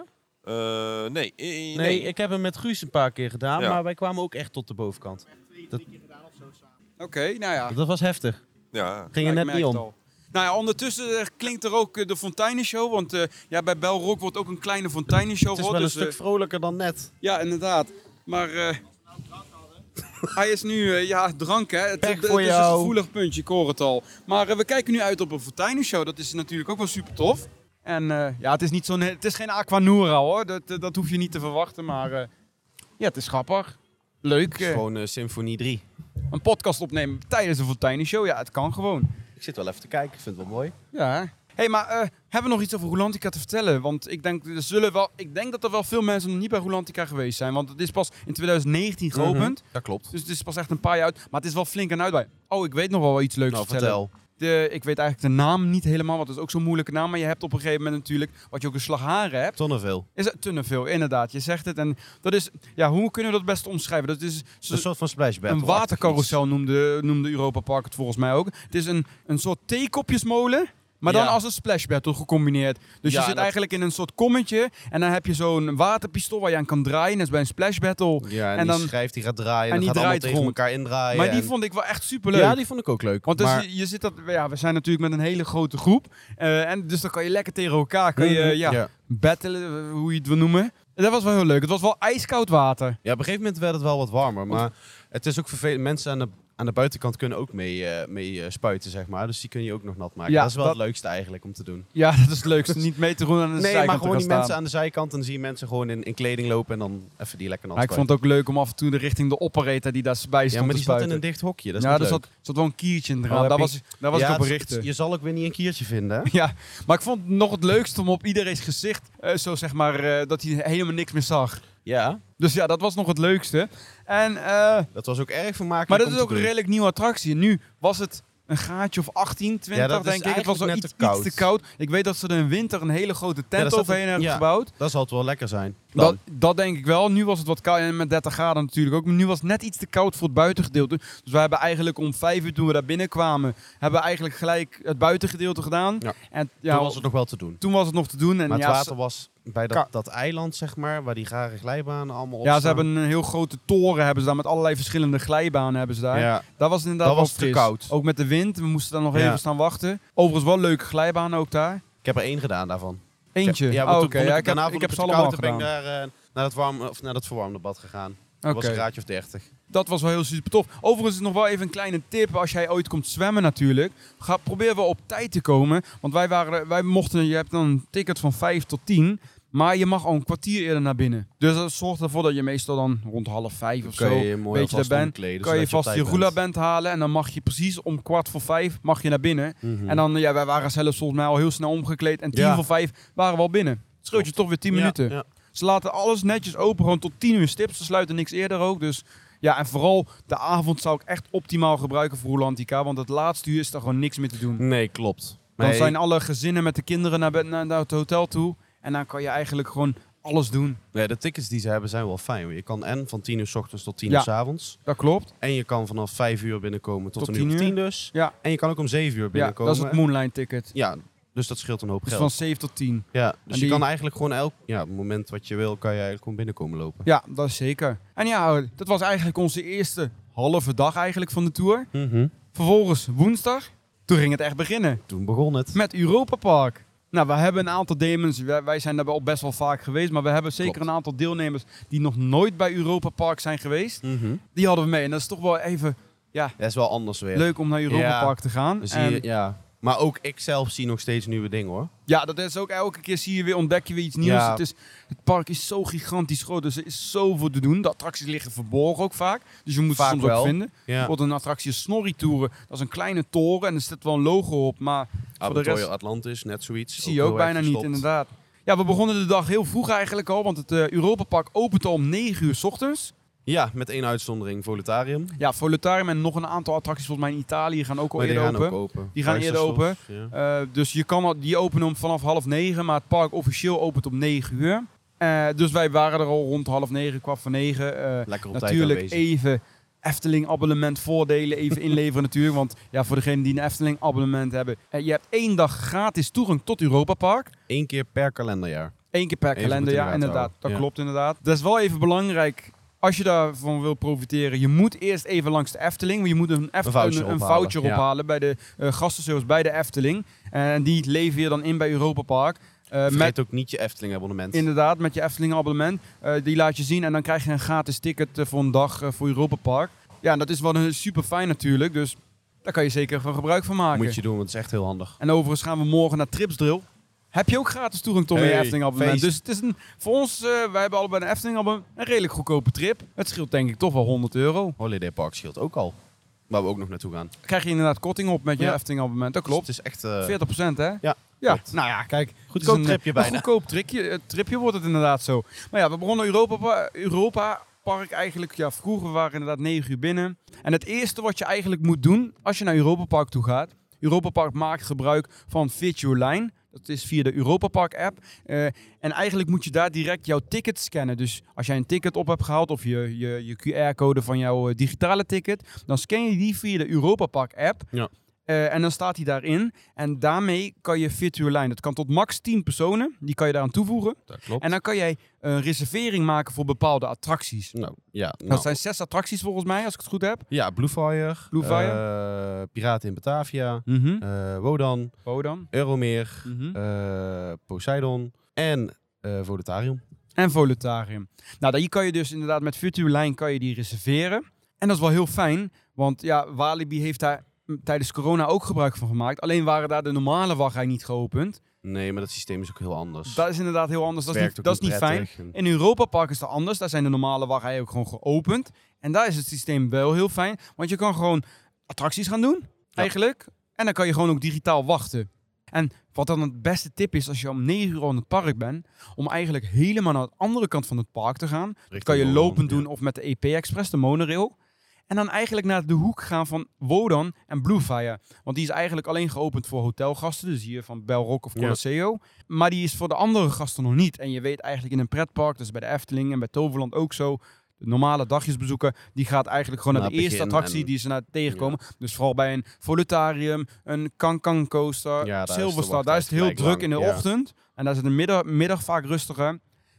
Speaker 5: Eh, nee, eh, nee.
Speaker 4: Nee, ik heb hem met Guus een paar keer gedaan,
Speaker 5: Ja.
Speaker 4: maar wij kwamen ook echt tot de bovenkant.
Speaker 1: Oké, nou ja.
Speaker 4: Dat was heftig.
Speaker 5: Ja.
Speaker 4: Ging er
Speaker 1: Ja, ik
Speaker 4: net
Speaker 1: merk
Speaker 4: niet om.
Speaker 1: het al. Nou ja, ondertussen eh, klinkt er ook eh, de fonteinenshow. Want eh, ja, bij Belrock wordt ook een kleine fonteinenshow.
Speaker 4: Het is
Speaker 1: gehoord,
Speaker 4: wel een
Speaker 1: dus, eh,
Speaker 4: stuk vrolijker dan net.
Speaker 1: Ja, inderdaad. Maar eh, hij is nu, eh, ja, drank hè. Het,
Speaker 4: Pech
Speaker 1: het- het
Speaker 4: voor
Speaker 1: is een
Speaker 4: jou.
Speaker 1: gevoelig puntje, ik hoor het al. Maar eh, we kijken nu uit op een Fortuinenshow. Dat is natuurlijk ook wel super tof. En eh, ja, het is, niet zo'n, het is geen Aquanura hoor. Dat, eh, dat hoef je niet te verwachten. Maar eh, ja, het is grappig. Leuk. eh,
Speaker 2: Gewoon eh, Symfonie 3.
Speaker 1: een podcast opnemen tijdens een Fortuinenshow. Ja, het kan gewoon.
Speaker 4: Ik zit wel even te kijken, ik vind het wel mooi.
Speaker 1: Ja, hè. hey, maar eh, hebben we nog iets over Rolantica te vertellen? Want ik denk, er zullen wel, ik denk dat er wel veel mensen nog niet bij Rolantica geweest zijn. Want het is pas in 2019 geopend.
Speaker 2: Dat klopt.
Speaker 1: Dus het is pas echt een paar jaar uit. Maar het is wel flink aan uitbij. Oh, ik weet nog wel iets leuks
Speaker 2: Nou,
Speaker 1: te vertellen.
Speaker 2: vertel.
Speaker 1: De, ik weet eigenlijk de naam niet helemaal, want het is ook zo'n moeilijke naam. Maar je hebt op een gegeven moment natuurlijk, wat je ook een slagharen hebt,
Speaker 2: Tonneveel.
Speaker 1: is het tunnelveel. Inderdaad, je zegt het. En dat is, ja, hoe kunnen we dat best omschrijven? Dat is zo-
Speaker 2: Een soort van splash battle.
Speaker 1: Dus een watercarousel noemde, noemde Europa Park het volgens mij ook. Het is een, een soort theekopjesmolen. Maar dan
Speaker 2: Ja.
Speaker 1: als een splash battle gecombineerd. Dus
Speaker 2: Ja,
Speaker 1: je zit
Speaker 2: dat-
Speaker 1: eigenlijk in een soort kommetje. En dan heb je zo'n waterpistool waar je aan kan draaien. Net als bij een splash battle.
Speaker 2: Ja, en,
Speaker 1: En dan-
Speaker 2: die schrijft, die gaat draaien.
Speaker 1: en
Speaker 2: En
Speaker 1: die
Speaker 2: die gaat allemaal
Speaker 1: draait
Speaker 2: tegen
Speaker 1: rond.
Speaker 2: elkaar indraaien.
Speaker 1: maar die
Speaker 2: en-
Speaker 1: vond ik wel echt superleuk.
Speaker 2: Ja, die vond ik ook leuk.
Speaker 1: Want dus
Speaker 2: maar
Speaker 1: je, je zit dat, ja, we zijn natuurlijk met een hele grote groep. eh, en dus dan kan je lekker tegen elkaar kun je, ja,
Speaker 2: Ja.
Speaker 1: battelen, eh, hoe je het wil noemen. En dat was wel heel leuk. Het was wel ijskoud water.
Speaker 2: Ja, op een gegeven moment werd het wel wat warmer. Maar het is ook vervelend. Mensen aan de, aan de buitenkant kunnen ook mee, eh, mee eh, spuiten, zeg maar. Dus die kun je ook nog nat maken.
Speaker 1: Ja,
Speaker 2: dat is wel
Speaker 1: dat-
Speaker 2: het leukste eigenlijk om te doen.
Speaker 1: Ja, dat is het leukste. Niet mee te doen aan de
Speaker 2: Nee,
Speaker 1: zijkant
Speaker 2: maar
Speaker 1: te
Speaker 2: gewoon
Speaker 1: gaan
Speaker 2: die
Speaker 1: staan.
Speaker 2: mensen aan de zijkant. En dan zie je mensen gewoon in, in kleding lopen. En dan even die lekker nat
Speaker 1: Maar ik vond
Speaker 2: spuiten.
Speaker 1: het ook leuk om af en toe de richting de operator die daarbij stond te
Speaker 2: Ja, maar die zat in
Speaker 1: spuiten.
Speaker 2: een dicht hokje. Dat is
Speaker 1: ja,
Speaker 2: niet
Speaker 1: er
Speaker 2: leuk.
Speaker 1: zat, zat wel een kiertje in de
Speaker 2: Oh,
Speaker 1: raam.
Speaker 2: heb
Speaker 1: daar
Speaker 2: je-
Speaker 1: was, daar was
Speaker 2: Ja,
Speaker 1: ik op
Speaker 2: het is- het
Speaker 1: berichten.
Speaker 2: is- Je zal ook weer niet een kiertje vinden, hè?
Speaker 1: Ja, maar ik vond het nog het leukst om op iedereen's gezicht, eh, zo zeg maar, eh, dat hij helemaal niks meer zag.
Speaker 2: Ja,
Speaker 1: Dus ja, dat was nog het leukste. En, eh,
Speaker 2: dat was ook erg vermakelijk
Speaker 1: maar dat
Speaker 2: om
Speaker 1: is
Speaker 2: te
Speaker 1: ook een
Speaker 2: doen.
Speaker 1: redelijk nieuwe attractie. Nu was het een gaatje of 18, 20,
Speaker 2: Ja, dat is
Speaker 1: denk ik. Het was
Speaker 2: eigenlijk
Speaker 1: wel
Speaker 2: net
Speaker 1: iets,
Speaker 2: te koud.
Speaker 1: iets te koud. Ik weet dat ze er in winter een hele grote
Speaker 2: daar
Speaker 1: tent
Speaker 2: zat
Speaker 1: overheen
Speaker 2: een-
Speaker 1: hebben
Speaker 2: ja.
Speaker 1: gebouwd.
Speaker 2: Dat zal het wel lekker zijn. Dan.
Speaker 1: Dat, dat denk ik wel. Nu was het wat koud en met 30 graden natuurlijk ook. Maar nu was het net iets te koud voor het buitengedeelte. Dus we hebben eigenlijk om 5 uur toen we daar binnenkwamen, hebben we eigenlijk gelijk het buitengedeelte gedaan.
Speaker 2: Ja.
Speaker 1: En ja,
Speaker 2: Toen was het nog wel te doen.
Speaker 1: toen was het nog te doen. En
Speaker 2: Maar het
Speaker 1: ja,
Speaker 2: water
Speaker 1: ze,
Speaker 2: was bij dat, dat eiland, zeg maar, waar die rare glijbanen allemaal op
Speaker 1: ja, ze
Speaker 2: staan.
Speaker 1: hebben een heel grote toren hebben ze daar met allerlei verschillende glijbanen hebben ze daar.
Speaker 2: Ja,
Speaker 1: Daar was het inderdaad
Speaker 2: Dat
Speaker 1: wel
Speaker 2: was te
Speaker 1: fris.
Speaker 2: koud.
Speaker 1: Ook met de wind. We moesten daar nog
Speaker 2: Ja.
Speaker 1: even staan wachten. Overigens wel leuke glijbanen ook daar.
Speaker 2: ik heb er één gedaan daarvan.
Speaker 1: Eentje.
Speaker 2: Ja,
Speaker 1: Oh,
Speaker 2: maar
Speaker 1: Oké,
Speaker 2: toen vond
Speaker 1: ja,
Speaker 2: ik,
Speaker 1: ik, heb,
Speaker 2: daarna
Speaker 1: ik
Speaker 2: vond
Speaker 1: heb ze
Speaker 2: het te
Speaker 1: allemaal
Speaker 2: koud en ben
Speaker 1: gedaan.
Speaker 2: ik daar eh, naar, dat warm, of naar dat verwarmde bad gegaan. Dat eh, was
Speaker 1: Oké.
Speaker 2: een graadje of 30.
Speaker 1: Dat was wel heel super tof. Overigens is nog wel even een kleine tip als jij ooit komt zwemmen natuurlijk. Ga, probeer wel op tijd te komen. Want wij, waren, wij mochten, je hebt dan een ticket van 5 tot 10. Maar je mag al een kwartier eerder naar binnen. Dus dat zorgt ervoor dat je meestal dan rond half vijf of zo, weet je daar bent. kan je vast je roulaband halen en dan mag je precies om kwart voor vijf mag je naar binnen. En dan, ja, wij waren zelfs volgens mij al heel snel omgekleed. En tien
Speaker 2: Ja.
Speaker 1: voor vijf waren we al binnen. Het scheelt je toch weer tien minuten. Ze laten alles netjes open, gewoon tot 10 uur stipt. Ze sluiten niks eerder ook. Dus ja, en vooral de avond zou ik echt optimaal gebruiken voor Rolantica. Want het laatste uur is daar gewoon niks meer te doen.
Speaker 2: Nee, klopt.
Speaker 1: Dan zijn alle gezinnen met de kinderen naar, bed- naar, naar het hotel toe. En dan kan je eigenlijk gewoon alles doen.
Speaker 2: nee, de tickets die ze hebben zijn wel fijn. Je kan en van 10 uur s ochtends tot 10
Speaker 1: Ja.
Speaker 2: uur s avonds.
Speaker 1: Dat klopt.
Speaker 2: En je kan vanaf 5 uur binnenkomen tot,
Speaker 1: Tot
Speaker 2: een uur
Speaker 1: 10
Speaker 2: of
Speaker 1: uur.
Speaker 2: 10 dus.
Speaker 1: Ja.
Speaker 2: En je kan ook om 7 uur
Speaker 1: Ja,
Speaker 2: binnenkomen.
Speaker 1: dat is het Moonline ticket.
Speaker 2: Ja, dus dat scheelt een hoop
Speaker 1: Dus
Speaker 2: geld.
Speaker 1: van 7 tot 10.
Speaker 2: Ja, dus
Speaker 1: En
Speaker 2: je
Speaker 1: die-
Speaker 2: kan eigenlijk gewoon elk ja, op het moment wat je wil, kan je eigenlijk gewoon binnenkomen lopen.
Speaker 1: Ja, dat is zeker. En ja, dat was eigenlijk onze eerste halve dag eigenlijk van de tour.
Speaker 2: Mhm.
Speaker 1: Vervolgens woensdag, toen ging het echt beginnen.
Speaker 2: Toen begon het.
Speaker 1: Met Europa Park. Nou, we hebben een aantal demons. Wij, wij zijn daar al best wel vaak geweest. Maar we hebben zeker
Speaker 2: Klopt.
Speaker 1: een aantal deelnemers die nog nooit bij Europa Park zijn geweest. Die hadden we mee. En dat is toch wel even
Speaker 2: Dat is wel anders weer.
Speaker 1: leuk om naar Europa
Speaker 2: Ja.
Speaker 1: Park te gaan.
Speaker 2: Dan zie
Speaker 1: En
Speaker 2: je- ja. Maar ook ik zelf zie nog steeds nieuwe dingen hoor.
Speaker 1: ja, dat is ook elke keer zie je weer, ontdek je weer iets nieuws.
Speaker 2: Ja.
Speaker 1: Het, is, het park is zo gigantisch groot. Dus er is zoveel te doen. De attracties liggen verborgen ook vaak. Dus je moet
Speaker 2: Vaak
Speaker 1: ze soms
Speaker 2: wel.
Speaker 1: ook vinden.
Speaker 2: Ja.
Speaker 1: Bijvoorbeeld een attractie is Snorri Toeren. Dat is een kleine toren en er zit wel een logo op. Maar voor de
Speaker 2: Aventorio
Speaker 1: rest
Speaker 2: Atlantis, net zoiets.
Speaker 1: Zie je
Speaker 2: heel
Speaker 1: ook
Speaker 2: erg
Speaker 1: bijna niet,
Speaker 2: verstopt.
Speaker 1: inderdaad. Ja, we begonnen de dag heel vroeg eigenlijk al, want het eh, Europa Park opent al om 9 uur 's ochtends.
Speaker 2: Ja, met één uitzondering, Voletarium.
Speaker 1: Ja, Volutarium en nog een aantal attracties volgens mij in Italië gaan ook al
Speaker 2: Maar die
Speaker 1: eerder
Speaker 2: gaan
Speaker 1: open.
Speaker 2: ook open.
Speaker 1: Die gaan
Speaker 2: Kaiserslautern,
Speaker 1: eerder open.
Speaker 2: ja.
Speaker 1: Eh, dus je kan al, die openen om vanaf half negen, maar het park officieel opent om 9 uur. Eh, dus wij waren er al rond half negen, kwart voor negen. Eh,
Speaker 2: Lekker op
Speaker 1: natuurlijk
Speaker 2: tijd aanwezig.
Speaker 1: even Efteling abonnement voordelen even inleveren natuurlijk. Want ja, voor degenen die een Efteling abonnement hebben, eh, je hebt één dag gratis toegang tot Europa Park.
Speaker 2: Eén keer per kalenderjaar.
Speaker 1: Eén keer per
Speaker 2: Even
Speaker 1: kalender,
Speaker 2: moeten
Speaker 1: ja,
Speaker 2: inderdaad
Speaker 1: inderdaad.
Speaker 2: houden.
Speaker 1: Dat
Speaker 2: oh. Ja.
Speaker 1: klopt inderdaad. Dat is wel even belangrijk. Als je daarvan wil profiteren, je moet eerst even langs de Efteling. Want je moet een, Eft-
Speaker 2: Een voucher
Speaker 1: een, een
Speaker 2: ophalen,
Speaker 1: voucher
Speaker 2: ja.
Speaker 1: ophalen bij de eh gastenservice bij de Efteling. En die lever je dan in bij Europa Park. Eh, met,
Speaker 2: Vergeet ook niet je Efteling abonnement.
Speaker 1: inderdaad, met je Efteling abonnement. Eh, die laat je zien en dan krijg je een gratis ticket eh, voor een dag eh, voor Europa Park. Ja, en dat is wel een super fijn natuurlijk. Dus daar kan je zeker van gebruik van maken.
Speaker 2: Moet je doen, want het is echt heel handig.
Speaker 1: En overigens gaan we morgen naar Tripsdrill. Heb je ook gratis toegang tot
Speaker 2: Hey,
Speaker 1: je Efteling abonnement.
Speaker 2: feest.
Speaker 1: Dus het is een, voor ons, eh, wij hebben allebei een Efteling abonnement, een redelijk goedkope trip. Het scheelt denk ik toch wel 100 euro.
Speaker 2: Holiday Park scheelt ook al. Waar we ook nog naartoe gaan.
Speaker 1: Krijg je inderdaad korting op met je
Speaker 2: Ja.
Speaker 1: Efteling abonnement. Dat klopt.
Speaker 2: Dus het is echt eh
Speaker 1: 40% hè?
Speaker 2: Ja,
Speaker 1: Ja,
Speaker 2: klopt.
Speaker 1: nou ja, kijk.
Speaker 2: goed
Speaker 1: Het is een, eh,
Speaker 2: tripje
Speaker 1: Een
Speaker 2: bijna.
Speaker 1: goedkoop tripje, eh, tripje wordt het inderdaad zo. Maar ja, we begonnen Europa, Pa- Europa Park eigenlijk. Ja, vroeger waren we inderdaad 9 uur binnen. En het eerste wat je eigenlijk moet doen als je naar Europa Park toe gaat. Europa Park maakt gebruik van Fit Your Line. Dat is via de Europa Park app. Eh, en eigenlijk moet je daar direct jouw ticket scannen. Dus als jij een ticket op hebt gehaald of je, je, je QR-code van jouw eh, digitale ticket, dan scan je die via de Europa Park app.
Speaker 2: Ja.
Speaker 1: Eh, en dan staat die daarin. En daarmee kan je virtual line. Dat kan tot max 10 personen. Die kan je daaraan toevoegen.
Speaker 2: Dat klopt.
Speaker 1: En dan kan jij een reservering maken voor bepaalde attracties.
Speaker 2: nou, ja, nou.
Speaker 1: Dat zijn zes attracties volgens mij, als ik het goed heb.
Speaker 2: ja, Blue Fire,
Speaker 1: Blue Fire.
Speaker 2: eh, Piraten in Batavia,
Speaker 1: Mhm.
Speaker 2: eh, Wodan,
Speaker 1: Bodan.
Speaker 2: Euromeer,
Speaker 1: Mhm.
Speaker 2: eh, Poseidon en eh Vodetarium.
Speaker 1: En Volutarium. Nou, daar kan je dus inderdaad met virtual line kan je die reserveren. En dat is wel heel fijn, want ja, Walibi heeft daar mm, tijdens corona ook gebruik van gemaakt. Alleen waren daar de normale wachtrij niet geopend.
Speaker 2: Nee, maar dat systeem is ook heel anders.
Speaker 1: Dat is inderdaad heel anders. Dat is niet, dat is niet fijn.
Speaker 2: fijn.
Speaker 1: In Europa Park is dat anders. Daar zijn de normale wachtrijen ook gewoon geopend. En daar is het systeem wel heel fijn. Want je kan gewoon attracties gaan doen, eigenlijk. En dan kan je gewoon ook digitaal wachten. En wat dan het beste tip is als je om 9 uur in het park bent, om eigenlijk helemaal naar de andere kant van het park te gaan. Dat kan je lopend doen of met de EP Express, de monorail. En dan eigenlijk naar de hoek gaan van Wodan en Bluefire. Want die is eigenlijk alleen geopend voor hotelgasten. Dus hier van Belrock of
Speaker 2: Ja.
Speaker 1: Colosseo. Maar die is voor de andere gasten nog niet. En je weet eigenlijk in een pretpark, dus bij de Efteling en bij Toverland ook zo. De normale dagjesbezoeken, die gaat eigenlijk gewoon naar,
Speaker 2: Naar
Speaker 1: de eerste
Speaker 2: begin
Speaker 1: attractie
Speaker 2: en-
Speaker 1: die ze naar tegenkomen. Dus vooral bij een Volutarium, een Kankan Coaster,
Speaker 2: Ja, daar is de
Speaker 1: Silverstar. Daar is het heel
Speaker 2: wachtrij
Speaker 1: druk in de
Speaker 2: lang, ja.
Speaker 1: ochtend. En daar is het in de middag, middag vaak rustiger.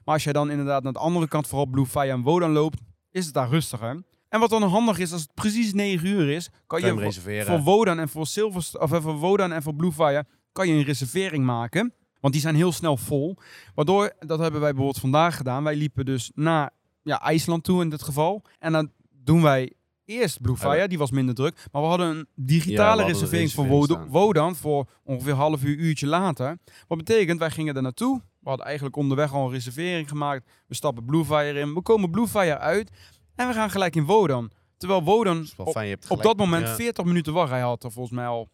Speaker 1: Maar als jij dan inderdaad naar de andere kant, vooral Blue Fire en Wodan loopt, is het daar rustiger. En wat dan handig is, als het precies 9 uur is, kan
Speaker 2: Kan je hem
Speaker 1: je
Speaker 2: reserveren.
Speaker 1: voor Wodan en voor Silver of eh, voor Wodan en voor Blue Fire kan je een reservering maken, want die zijn heel snel vol. Waardoor dat hebben wij bijvoorbeeld vandaag gedaan. Wij liepen dus naar ja, IJsland toe in dit geval en dan doen wij eerst Blue Fire, die was minder druk, maar we hadden een
Speaker 2: Ja, we
Speaker 1: digitale
Speaker 2: hadden een
Speaker 1: reservering voor
Speaker 2: reservering
Speaker 1: Wodan, Wodan voor ongeveer een half uur uurtje later. Wat betekent wij gingen daar naartoe. We hadden eigenlijk onderweg al een reservering gemaakt. We stappen Blue Fire in, we komen Blue Fire uit en we gaan gelijk in Wodan. Terwijl Wodan
Speaker 2: is wel
Speaker 1: op
Speaker 2: fijn, je hebt
Speaker 1: op
Speaker 2: gelijk-
Speaker 1: dat moment
Speaker 2: ja.
Speaker 1: 40 minuten wachtrij had, er volgens mij al.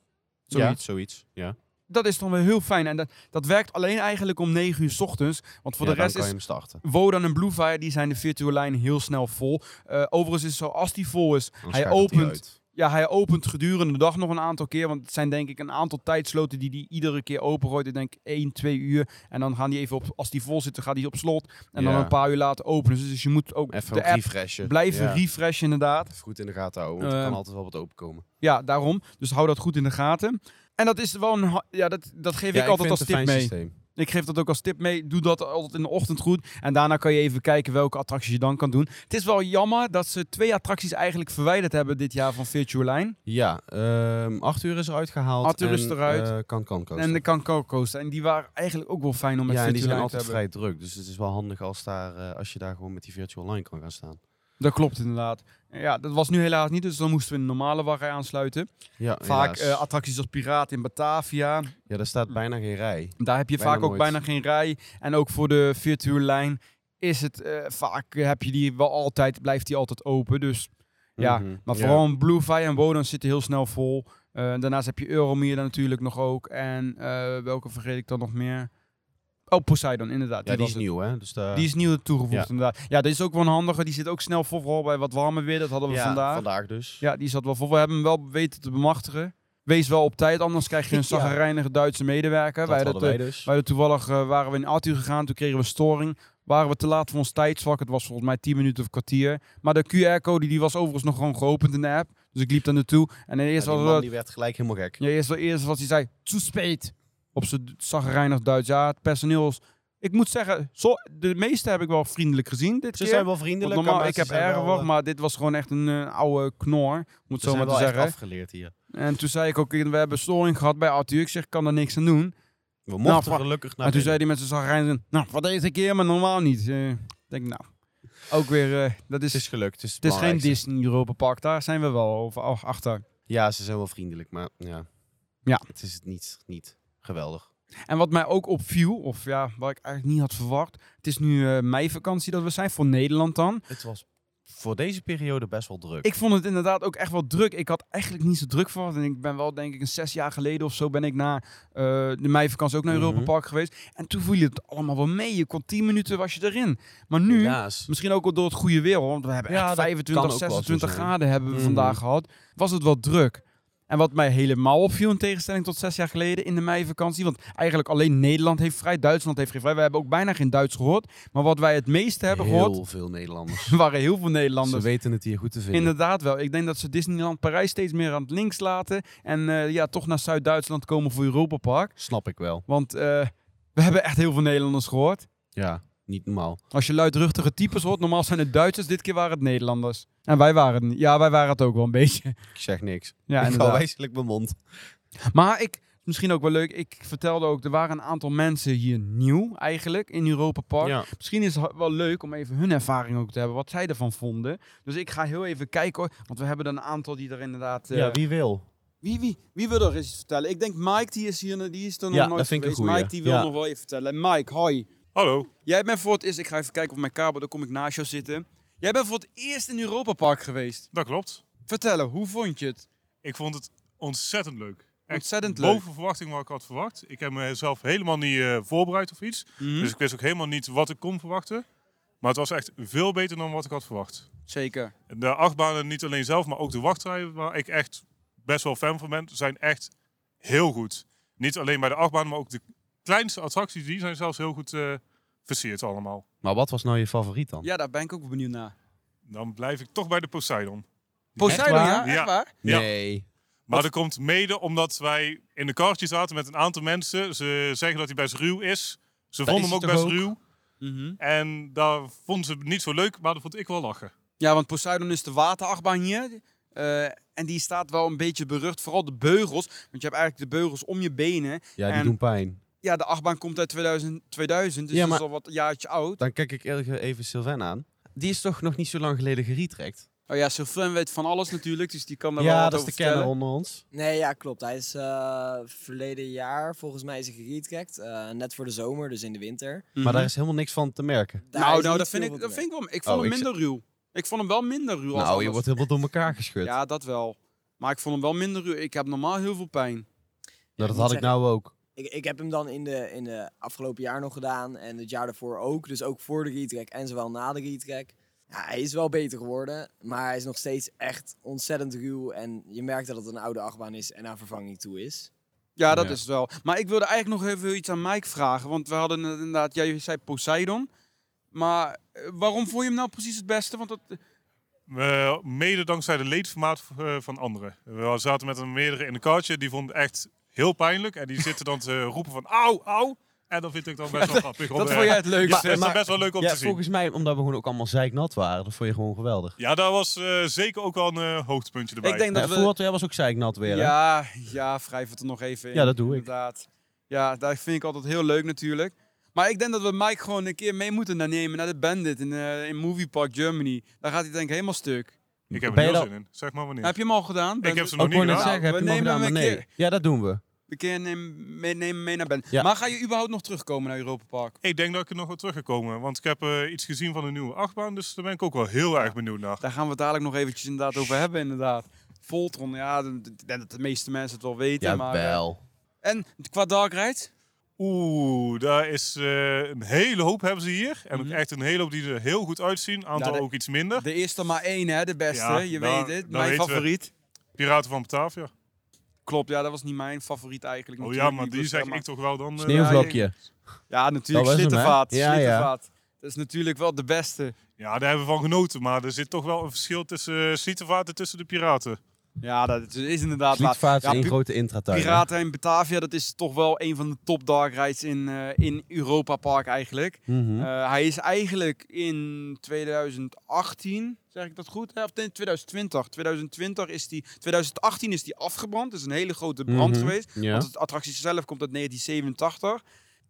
Speaker 1: Zoiets.
Speaker 2: Ja, zoiets. Ja.
Speaker 1: Dat is dan weer heel fijn. En dat, dat werkt alleen eigenlijk om 9 uur 's ochtends. Want voor
Speaker 2: Ja,
Speaker 1: de rest
Speaker 2: dan kan
Speaker 1: is
Speaker 2: je hem starten.
Speaker 1: Wodan en Bluefire, die zijn de virtual line heel snel vol. Eh, overigens is het zo, als die vol is,
Speaker 2: Dan
Speaker 1: hij
Speaker 2: schakelt
Speaker 1: opent-
Speaker 2: uit.
Speaker 1: ja, hij opent gedurende de dag nog een aantal keer. Want het zijn denk ik een aantal tijdsloten die hij iedere keer opengooit. Ik denk 1, 2 uur. En dan gaan die even op, als die vol zitten, gaat die op slot. En dan
Speaker 2: Ja.
Speaker 1: een paar uur later openen. ze. Dus je moet ook
Speaker 2: Even
Speaker 1: de
Speaker 2: ook
Speaker 1: app
Speaker 2: refreshen.
Speaker 1: blijven
Speaker 2: Ja.
Speaker 1: refreshen inderdaad.
Speaker 2: Even goed in de gaten houden, want er
Speaker 1: Eh,
Speaker 2: kan altijd wel wat openkomen.
Speaker 1: Ja, daarom. Dus hou dat goed in de gaten. En dat is wel een. ha- Ja, dat, dat geef ik altijd als tip mee. Ik geef dat ook als tip mee. Doe dat altijd in de ochtend goed. En daarna kan je even kijken welke attracties je dan kan doen. Het is wel jammer dat ze twee attracties eigenlijk verwijderd hebben dit jaar van Virtual Line.
Speaker 2: Ja, ehm Arthur is eruit gehaald.
Speaker 1: Arthur is
Speaker 2: en,
Speaker 1: eruit.
Speaker 2: eh, kan kan coaster.
Speaker 1: En de Cancun Coaster. En die waren eigenlijk ook wel fijn om met
Speaker 2: ja, en die
Speaker 1: Virtual Line
Speaker 2: zijn
Speaker 1: te
Speaker 2: altijd
Speaker 1: hebben.
Speaker 2: vrij druk. Dus het is wel handig als, daar, eh, als je daar gewoon met die virtual line kan gaan staan.
Speaker 1: Dat klopt inderdaad. Ja, dat was nu helaas niet. Dus dan moesten we een normale wachtrij aansluiten.
Speaker 2: Ja,
Speaker 1: Vaak
Speaker 2: Oh, helaas.
Speaker 1: eh, Mm. attracties als Piraat in Batavia.
Speaker 2: ja, daar staat bijna geen rij.
Speaker 1: Daar heb je
Speaker 2: Bijna
Speaker 1: vaak ook
Speaker 2: nooit.
Speaker 1: bijna geen rij. En ook voor de virtual lijn is het eh, vaak heb je die wel altijd, blijft die altijd open. Dus ja,
Speaker 2: Mhm.
Speaker 1: maar
Speaker 2: Ja.
Speaker 1: vooral Blue Fire en Wodan zitten heel snel vol. Eh, daarnaast heb je Euromier dan natuurlijk nog ook. En eh, welke vergeet ik dan nog meer? Oh, Poseidon, inderdaad.
Speaker 2: Ja, die
Speaker 1: was
Speaker 2: is
Speaker 1: het.
Speaker 2: nieuw, hè? Dus daar-
Speaker 1: Die is nieuw toegevoegd,
Speaker 2: Ja.
Speaker 1: inderdaad. Ja, dat is ook wel een handige. Die zit ook snel vol, vooral bij wat warmer weer. Dat hadden we
Speaker 2: Ja,
Speaker 1: vandaag.
Speaker 2: dus.
Speaker 1: Ja, die zat wel vol. We hebben hem wel weten te bemachtigen. Wees wel op tijd, anders krijg je een
Speaker 2: Ja.
Speaker 1: zagrijnige Duitse medewerker.
Speaker 2: dat
Speaker 1: Wij
Speaker 2: hadden
Speaker 1: eh,
Speaker 2: wij dus.
Speaker 1: wij hadden toevallig eh, waren we in Arthur gegaan, toen kregen we storing. Waren we te laat voor ons tijdsvak. Het was volgens mij 10 minuten of kwartier. Maar de QR-code die was overigens nog gewoon geopend in de app. Dus ik liep daar naartoe. En eerst
Speaker 2: Ja, die
Speaker 1: was,
Speaker 2: man
Speaker 1: dat,
Speaker 2: die werd gelijk helemaal gek.
Speaker 1: ja, eerst, eerst was hij zei, zu spät. Op zijn zagrijnig Duits. Ja, het personeel is... Ik moet zeggen, zo, de meeste heb ik wel vriendelijk gezien dit
Speaker 2: Ze
Speaker 1: keer.
Speaker 2: zijn wel
Speaker 1: Want
Speaker 2: vriendelijk.
Speaker 1: normaal,
Speaker 2: maar
Speaker 1: ik
Speaker 2: ze
Speaker 1: heb
Speaker 2: zijn
Speaker 1: erger
Speaker 2: wel,
Speaker 1: wacht,
Speaker 2: eh,
Speaker 1: maar dit was gewoon echt een eh, oude knor. Moet
Speaker 2: Ze
Speaker 1: zo maar te
Speaker 2: zijn wel echt
Speaker 1: zeggen.
Speaker 2: afgeleerd hier.
Speaker 1: En toen zei ik ook, we hebben storing gehad bij Arthur. Ik zeg, ik kan er niks aan doen.
Speaker 2: We mochten
Speaker 1: Nou, maar-
Speaker 2: gelukkig
Speaker 1: Maar toen
Speaker 2: naar binnen.
Speaker 1: zei hij met zijn zagrijnig, nou, voor deze keer, maar normaal niet. Eh, Ik denk, nou, ook weer, eh, dat is,
Speaker 2: Het is gelukt. Het is, het
Speaker 1: het is geen
Speaker 2: belangrijkste.
Speaker 1: Disney Europa Park. Daar zijn we wel over, ach- achter.
Speaker 2: Ja, ze zijn wel vriendelijk, maar ja.
Speaker 1: Ja.
Speaker 2: Het is niet, niet geweldig.
Speaker 1: En wat mij ook opviel, of ja, wat ik eigenlijk niet had verwacht. Het is nu eh meivakantie dat we zijn, voor Nederland dan.
Speaker 2: Het was voor deze periode best wel druk.
Speaker 1: Ik vond het inderdaad ook echt wel druk. Ik had eigenlijk niet zo druk verwacht. En ik ben wel, denk ik, een zes jaar geleden of zo ben ik na eh, de meivakantie ook naar Europa
Speaker 2: Mhm.
Speaker 1: Park geweest. En toen voelde het allemaal wel mee. Je kon 10 minuten was je erin. Maar nu,
Speaker 2: Helaas.
Speaker 1: misschien ook wel door het goede weer, hoor, want we hebben
Speaker 2: Ja,
Speaker 1: echt
Speaker 2: dat kan
Speaker 1: 25,
Speaker 2: ook wel zo
Speaker 1: 26
Speaker 2: zijn.
Speaker 1: graden hebben we
Speaker 2: Mhm.
Speaker 1: vandaag gehad. Was het wel druk. En wat mij helemaal opviel, in tegenstelling tot zes jaar geleden in de meivakantie. Want eigenlijk alleen Nederland heeft vrij, Duitsland heeft geen vrij. We hebben ook bijna geen Duits gehoord. Maar wat wij het meeste hebben
Speaker 2: heel
Speaker 1: gehoord,
Speaker 2: veel Nederlanders.
Speaker 1: waren heel veel
Speaker 2: Ze
Speaker 1: Nederlanders.
Speaker 2: weten het hier goed te vinden.
Speaker 1: Inderdaad wel. Ik denk dat ze Disneyland Parijs steeds meer aan het links laten. En eh, ja, toch naar Zuid-Duitsland komen voor Europa Park.
Speaker 2: Snap ik wel.
Speaker 1: Want eh, we hebben echt heel veel Nederlanders gehoord.
Speaker 2: Ja, niet normaal.
Speaker 1: Als je luidruchtige types hoort, normaal zijn het Duitsers, dit keer waren het Nederlanders. En wij waren het niet. Ja, wij waren het ook wel een beetje.
Speaker 2: Ik zeg niks.
Speaker 1: Ja,
Speaker 2: ik hou
Speaker 1: inderdaad.
Speaker 2: wijselijk mijn mond.
Speaker 1: Maar ik, misschien ook wel leuk, ik vertelde ook, er waren een aantal mensen hier nieuw eigenlijk in Europa Park.
Speaker 2: Ja.
Speaker 1: Misschien is het ha- wel leuk om even hun ervaring ook te hebben, wat zij ervan vonden. Dus ik ga heel even kijken hoor, want we hebben er een aantal die er inderdaad... eh,
Speaker 2: ja, wie wil?
Speaker 1: Wie, wie, wie wil er iets vertellen? Ik denk Mike, die is hier die is er
Speaker 2: Ja,
Speaker 1: nog nooit
Speaker 2: dat vind ik een
Speaker 1: geweest.
Speaker 2: goeie.
Speaker 1: Mike, die wil
Speaker 2: Ja.
Speaker 1: nog wel even vertellen. Mike, hoi.
Speaker 5: Hallo.
Speaker 1: Jij bent voor het eerst... Ik ga even kijken op mijn kabel, dan kom ik naast jou zitten. Jij bent voor het eerst in Europa Park geweest.
Speaker 6: Dat klopt.
Speaker 1: Vertellen, hoe vond je het?
Speaker 6: Ik vond het ontzettend leuk. Echt
Speaker 1: Ontzettend leuk.
Speaker 6: Boven verwachting wat ik had verwacht. Ik heb mezelf helemaal niet eh, voorbereid of iets.
Speaker 1: Mhm,
Speaker 6: Dus ik wist ook helemaal niet wat ik kon verwachten. Maar het was echt veel beter dan wat ik had verwacht.
Speaker 1: Zeker.
Speaker 6: De achtbanen niet alleen zelf, maar ook de wachtrijen waar ik echt best wel fan van ben, zijn echt heel goed. Niet alleen bij de achtbanen, maar ook de kleinste attracties, die zijn zelfs heel goed eh, versierd allemaal.
Speaker 2: Maar wat was nou je favoriet dan?
Speaker 1: Ja, daar ben ik ook wel benieuwd naar.
Speaker 6: Dan blijf ik toch bij de Poseidon.
Speaker 1: Poseidon,
Speaker 2: waar?
Speaker 1: ja? Echt
Speaker 6: Ja.
Speaker 1: waar?
Speaker 6: Ja.
Speaker 2: Nee.
Speaker 6: Maar dat komt mede omdat wij in de kartje zaten met een aantal mensen. Ze zeggen dat hij best ruw is. Ze
Speaker 2: Dat
Speaker 6: vonden
Speaker 2: is
Speaker 6: hem ook
Speaker 2: hij
Speaker 6: best
Speaker 2: toch
Speaker 6: ruw.
Speaker 1: Mhm.
Speaker 6: En daar vonden ze het niet zo leuk, maar dat vond ik wel lachen.
Speaker 1: Ja, want Poseidon is de waterachtbaan hier. Eh, en die staat wel een beetje berucht. Vooral de beugels. Want je hebt eigenlijk de beugels om je benen.
Speaker 2: Ja, die
Speaker 1: En-
Speaker 2: doen pijn.
Speaker 1: Ja, de achtbaan komt uit 2000, 2000 dus
Speaker 2: Ja,
Speaker 1: dat
Speaker 2: maar-
Speaker 1: is al wat jaartje oud.
Speaker 2: Dan kijk ik eerlijk even Sylvain aan. Die is toch nog niet zo lang geleden geretrekt?
Speaker 1: Oh ja, Sylvain weet van alles natuurlijk, dus die kan er wel
Speaker 2: Ja,
Speaker 1: wat
Speaker 2: dat is
Speaker 1: over
Speaker 2: de kenner
Speaker 1: vertellen. Mhm.
Speaker 2: onder ons.
Speaker 7: Nee, ja, klopt. Hij is eh, verleden jaar, volgens mij, is hij geretrackt. eh, net voor de zomer, dus in de winter.
Speaker 2: Maar
Speaker 1: Mhm.
Speaker 2: daar is helemaal niks van te merken.
Speaker 7: Daar
Speaker 1: Nou,
Speaker 7: is
Speaker 1: nou
Speaker 7: niet
Speaker 1: dat, vind
Speaker 7: veel
Speaker 1: ik, dat
Speaker 7: van te
Speaker 1: vind ik wel... Ik
Speaker 2: Oh,
Speaker 1: vond hem
Speaker 2: ik
Speaker 1: minder ruw. Ik vond hem wel minder ruw als
Speaker 2: Nou, je
Speaker 1: anders.
Speaker 2: wordt helemaal door elkaar geschud. Nou,
Speaker 1: Ja, dat wel. Maar ik vond hem wel minder ruw. Ik heb normaal heel veel pijn.
Speaker 2: nou, dat
Speaker 7: moet
Speaker 2: had ik nou ook.
Speaker 7: Ik, ik heb hem dan in de, in de afgelopen jaar nog gedaan en het jaar daarvoor ook. Dus ook voor de retrack en zowel na de retrack. Ja, hij is wel beter geworden, maar hij is nog steeds echt ontzettend ruw. En je merkt dat het een oude achtbaan is en aan vervanging toe is.
Speaker 1: Ja, dat
Speaker 2: Ja.
Speaker 1: is het wel. Maar ik wilde eigenlijk nog even iets aan Mike vragen. Want we hadden het inderdaad... Jij zei Poseidon. Maar eh, waarom vond je hem nou precies het beste? Want dat,
Speaker 6: Eh, mede dankzij de leedvermaat eh, van anderen. We zaten met een meerdere in de kartje, die vond het echt heel pijnlijk. En die zitten dan te roepen van auw, auw. En dat vind ik dan best wel grappig. om,
Speaker 1: dat
Speaker 6: eh,
Speaker 1: vond jij het
Speaker 6: dat
Speaker 1: leukste.
Speaker 6: is dan best wel leuk om
Speaker 2: Ja,
Speaker 6: te zien.
Speaker 2: volgens mij, omdat we gewoon ook allemaal zeiknat waren, dat vond je gewoon geweldig.
Speaker 6: Ja, daar was eh, zeker ook wel een eh, hoogtepuntje erbij.
Speaker 1: ik denk
Speaker 2: Ja,
Speaker 1: dat we...
Speaker 2: Voort, jij was ook zeiknat weer. hè?
Speaker 1: Ja, ja, wrijf het er nog even in.
Speaker 2: Ja, dat doe ik.
Speaker 1: Inderdaad. Ja, dat vind ik altijd heel leuk natuurlijk. Maar ik denk dat we Mike gewoon een keer mee moeten naar nemen naar de Bandit in, eh, in Movie Park Germany. Daar gaat hij denk ik helemaal stuk.
Speaker 6: Ik heb er
Speaker 2: Ben je
Speaker 6: heel
Speaker 2: dan-
Speaker 6: zin in. Zeg maar wanneer.
Speaker 1: Heb je hem al gedaan?
Speaker 6: ik
Speaker 1: Bandit?
Speaker 6: heb ze nog
Speaker 2: Ook
Speaker 6: niet
Speaker 2: gewoon Oh,
Speaker 6: gedaan.
Speaker 2: net zeggen, heb
Speaker 1: We
Speaker 2: je hem al
Speaker 1: nemen
Speaker 2: gedaan, maar
Speaker 1: hem een
Speaker 2: nee. Ja, dat doen we.
Speaker 1: Een keer neem, meenemen mee naar Bandit.
Speaker 2: Ja.
Speaker 1: Maar ga je überhaupt nog terugkomen naar Europa Park?
Speaker 6: Ik denk dat ik er nog wel terug ga komen. Want ik heb eh, iets gezien van een nieuwe achtbaan. Dus daar ben ik ook wel heel erg benieuwd naar.
Speaker 1: Daar gaan we het dadelijk nog eventjes inderdaad over hebben inderdaad. Voltron, ja, d- d- ik denk dat de meeste mensen het wel weten.
Speaker 2: Ja,
Speaker 1: maar, eh,
Speaker 2: wel.
Speaker 1: En qua dark rides?
Speaker 6: Oeh, daar is eh, een hele hoop hebben ze hier. En ook
Speaker 1: Mhm.
Speaker 6: echt een hele hoop die er heel goed uitzien. Een aantal
Speaker 1: Ja, de-
Speaker 6: ook iets minder.
Speaker 1: De eerste maar één hè, de beste.
Speaker 6: Ja,
Speaker 1: je
Speaker 6: daar-
Speaker 1: weet het,
Speaker 6: daar
Speaker 1: mijn
Speaker 6: weten we.
Speaker 1: favoriet.
Speaker 6: Piraten van Batavia.
Speaker 1: Klopt, ja, dat was niet mijn favoriet eigenlijk.
Speaker 6: Oh ja,
Speaker 1: natuurlijk,
Speaker 6: maar die
Speaker 1: was,
Speaker 6: zeg
Speaker 1: ja, maar-
Speaker 6: ik toch wel dan... eh,
Speaker 2: Sneeuwvlokje.
Speaker 1: Ja, natuurlijk,
Speaker 2: Dat was hem, hè?
Speaker 1: slittenvaat.
Speaker 2: Ja, ja.
Speaker 1: slittenvaat. Dat is natuurlijk wel de beste.
Speaker 6: ja, daar hebben we van genoten. Maar er zit toch wel een verschil tussen uh, en tussen de piraten.
Speaker 1: Ja, dat is- is inderdaad laat.
Speaker 2: Slietvaart
Speaker 1: Ja,
Speaker 2: is één
Speaker 1: pi-
Speaker 2: grote intratuin. hè?
Speaker 1: Piraten in Batavia, dat is toch wel een van de top dark rides in, eh, in Europa Park eigenlijk.
Speaker 2: Mhm.
Speaker 1: Eh, hij is eigenlijk in 2018, zeg ik dat goed? hè? Of nee, 2020. 2020 is die, 2018 is die afgebrand. Dat is een hele grote brand
Speaker 2: Mhm.
Speaker 1: geweest.
Speaker 2: Ja.
Speaker 1: Want het attractie zelf komt uit 1987.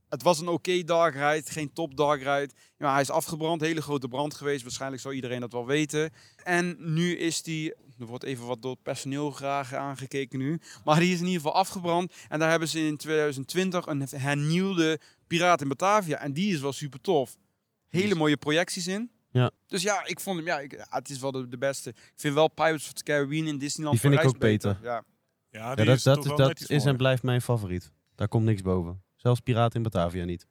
Speaker 1: Het was een oké dark ride, geen top dark ride. Maar hij is afgebrand, hele grote brand geweest. Waarschijnlijk zou iedereen dat wel weten. En nu is die, er wordt even wat door het personeel graag aangekeken nu. Maar die is in ieder geval afgebrand. En daar hebben ze in 2020 een hernieuwde Piraat in Batavia. En die is wel super tof. Hele mooie projecties in.
Speaker 4: Ja.
Speaker 1: Dus ja, ik vond hem, ja, ik, ja, het is wel de, de beste. Ik vind wel Pirates of the Caribbean in Disneyland
Speaker 4: Die vind
Speaker 1: voor
Speaker 4: ik ook
Speaker 1: reis Ja.
Speaker 6: Ja,
Speaker 4: Ja,
Speaker 6: die
Speaker 4: dat
Speaker 6: is
Speaker 4: dat,
Speaker 6: toch wel
Speaker 4: dat
Speaker 6: net iets
Speaker 4: is en
Speaker 6: mooier.
Speaker 4: blijft mijn favoriet. Daar komt niks boven. Zelfs Piraten in Batavia niet.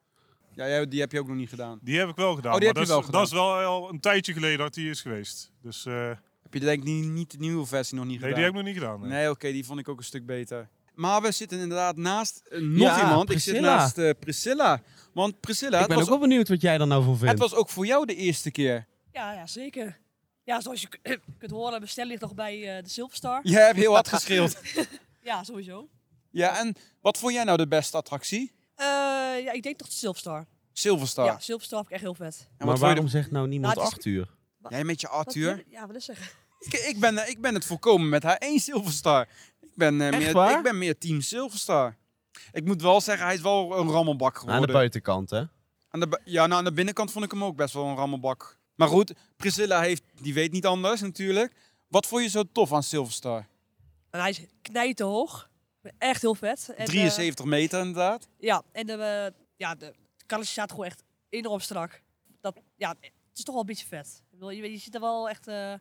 Speaker 1: Ja, jij- die heb je ook nog niet gedaan.
Speaker 6: Die heb ik wel gedaan.
Speaker 1: Oh, die
Speaker 6: maar
Speaker 1: heb je
Speaker 6: dat,
Speaker 1: wel
Speaker 6: is, dat is wel al een tijdje geleden dat die is geweest. Dus eh,
Speaker 1: Heb je denk ik niet, niet de nieuwe versie nog niet
Speaker 6: nee, die heb
Speaker 1: gedaan?
Speaker 6: ik nog niet gedaan. nee.
Speaker 1: Nee, oké, die vond ik ook een stuk beter. Maar we zitten inderdaad naast eh, nog
Speaker 4: Ja,
Speaker 1: iemand. Ik zit
Speaker 4: Priscilla.
Speaker 1: naast eh, Priscilla. Want Priscilla,
Speaker 4: ik
Speaker 1: het
Speaker 4: ben
Speaker 1: was,
Speaker 4: ook wel benieuwd wat jij daar nou van
Speaker 1: het
Speaker 4: vindt.
Speaker 1: was ook voor jou de eerste keer.
Speaker 8: Ja, ja, zeker. Ja, zoals je k- kunt horen, bestel ligt nog bij eh, de Silverstar.
Speaker 1: Jij hebt heel hard geschreeuwd.
Speaker 8: Ja, sowieso.
Speaker 1: Ja, en wat vond jij nou de beste attractie?
Speaker 8: Eh, ja, ik denk toch de Silverstar.
Speaker 1: Silverstar.
Speaker 8: Ja, Silverstar vind ik echt heel vet.
Speaker 1: En
Speaker 4: maar
Speaker 1: wat vond je
Speaker 4: waarom zegt nou niemand
Speaker 8: Nou, het is-
Speaker 4: acht uur?
Speaker 1: de- Jij met je
Speaker 8: Wat
Speaker 1: Arthur?
Speaker 8: wil- Ja, wat is zeggen?
Speaker 1: Ik, ik, ben, eh, ik ben het volkomen met haar één Silverstar. Ik ben, eh, meer,
Speaker 4: waar?
Speaker 1: ik ben meer team Silverstar. Ik moet wel zeggen, hij is wel een rammelbak geworden.
Speaker 4: Aan de buitenkant, hè?
Speaker 1: Aan de bu- ja, nou, aan de binnenkant vond ik hem ook best wel een rammelbak. Maar goed, Priscilla heeft, die weet niet anders natuurlijk. Wat vond je zo tof aan Silverstar?
Speaker 8: En hij is knijtenhoog. Echt heel vet. En, eh,
Speaker 1: 73 meter inderdaad.
Speaker 8: ja, en de, eh, ja, de kalletje staat gewoon echt enorm strak. Dat, ja, het is toch wel een beetje vet. Ik bedoel, Je, weet- je zit er wel echt eh,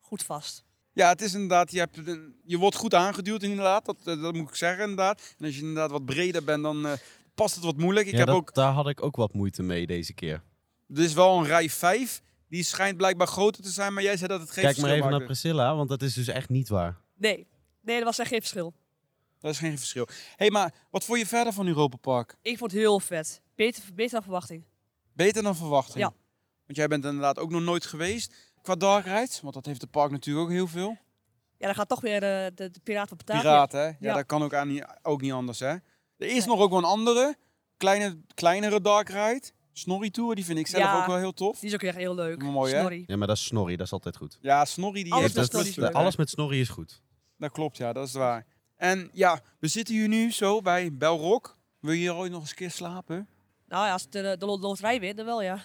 Speaker 8: goed vast.
Speaker 1: Ja, het is inderdaad, je, hebt, een- je wordt goed aangeduwd inderdaad. Dat, eh, dat moet ik zeggen inderdaad. En als je inderdaad wat breder bent, dan eh, past het wat moeilijk. Ik
Speaker 4: Ja,
Speaker 1: heb
Speaker 4: dat-
Speaker 1: ook,
Speaker 4: Daar had ik ook wat moeite mee deze keer.
Speaker 1: er is wel een rij 5. Die schijnt blijkbaar groter te zijn, maar jij zei dat het geen
Speaker 4: Kijk maar
Speaker 1: verschil
Speaker 4: even naar
Speaker 1: maakte.
Speaker 4: Priscilla, want dat is dus echt niet waar.
Speaker 8: Nee, nee, er was echt geen verschil.
Speaker 1: Dat is geen verschil. Hé, hey, maar wat vond je verder van Europa Park?
Speaker 8: Ik vond het heel vet. Beter, beter dan verwachting.
Speaker 1: Beter dan verwachting.
Speaker 8: Ja.
Speaker 1: Want jij bent inderdaad ook nog nooit geweest. Qua dark rides, want dat heeft het park natuurlijk ook heel veel.
Speaker 8: Ja, dan gaat toch weer de, de, de Piraten van Batavia.
Speaker 1: Piraten, hè? Ja,
Speaker 8: Ja.
Speaker 1: dat kan ook, aan, niet- ook niet anders, hè? Er is
Speaker 8: Nee.
Speaker 1: nog ook wel een andere, kleine, kleinere dark ride. Snorri Tour, die vind ik zelf
Speaker 8: Ja.
Speaker 1: ook wel heel tof.
Speaker 8: Die is ook echt heel leuk.
Speaker 1: Mooi, hè?
Speaker 8: Snorri.
Speaker 4: Ja, maar dat is snorri, dat is altijd goed.
Speaker 1: Ja, Snorri die
Speaker 8: Alles
Speaker 1: heeft
Speaker 8: met
Speaker 1: dat
Speaker 8: Snorri is
Speaker 1: pluspunt,
Speaker 8: leuk.
Speaker 1: hè?
Speaker 4: Alles met snorri is goed.
Speaker 1: Dat klopt, ja, dat is waar. En ja, we zitten hier nu zo bij Belrock. Wil je hier ooit nog eens een keer slapen?
Speaker 8: Nou ja, als ik de, de lo- loterij wint, dan wel ja.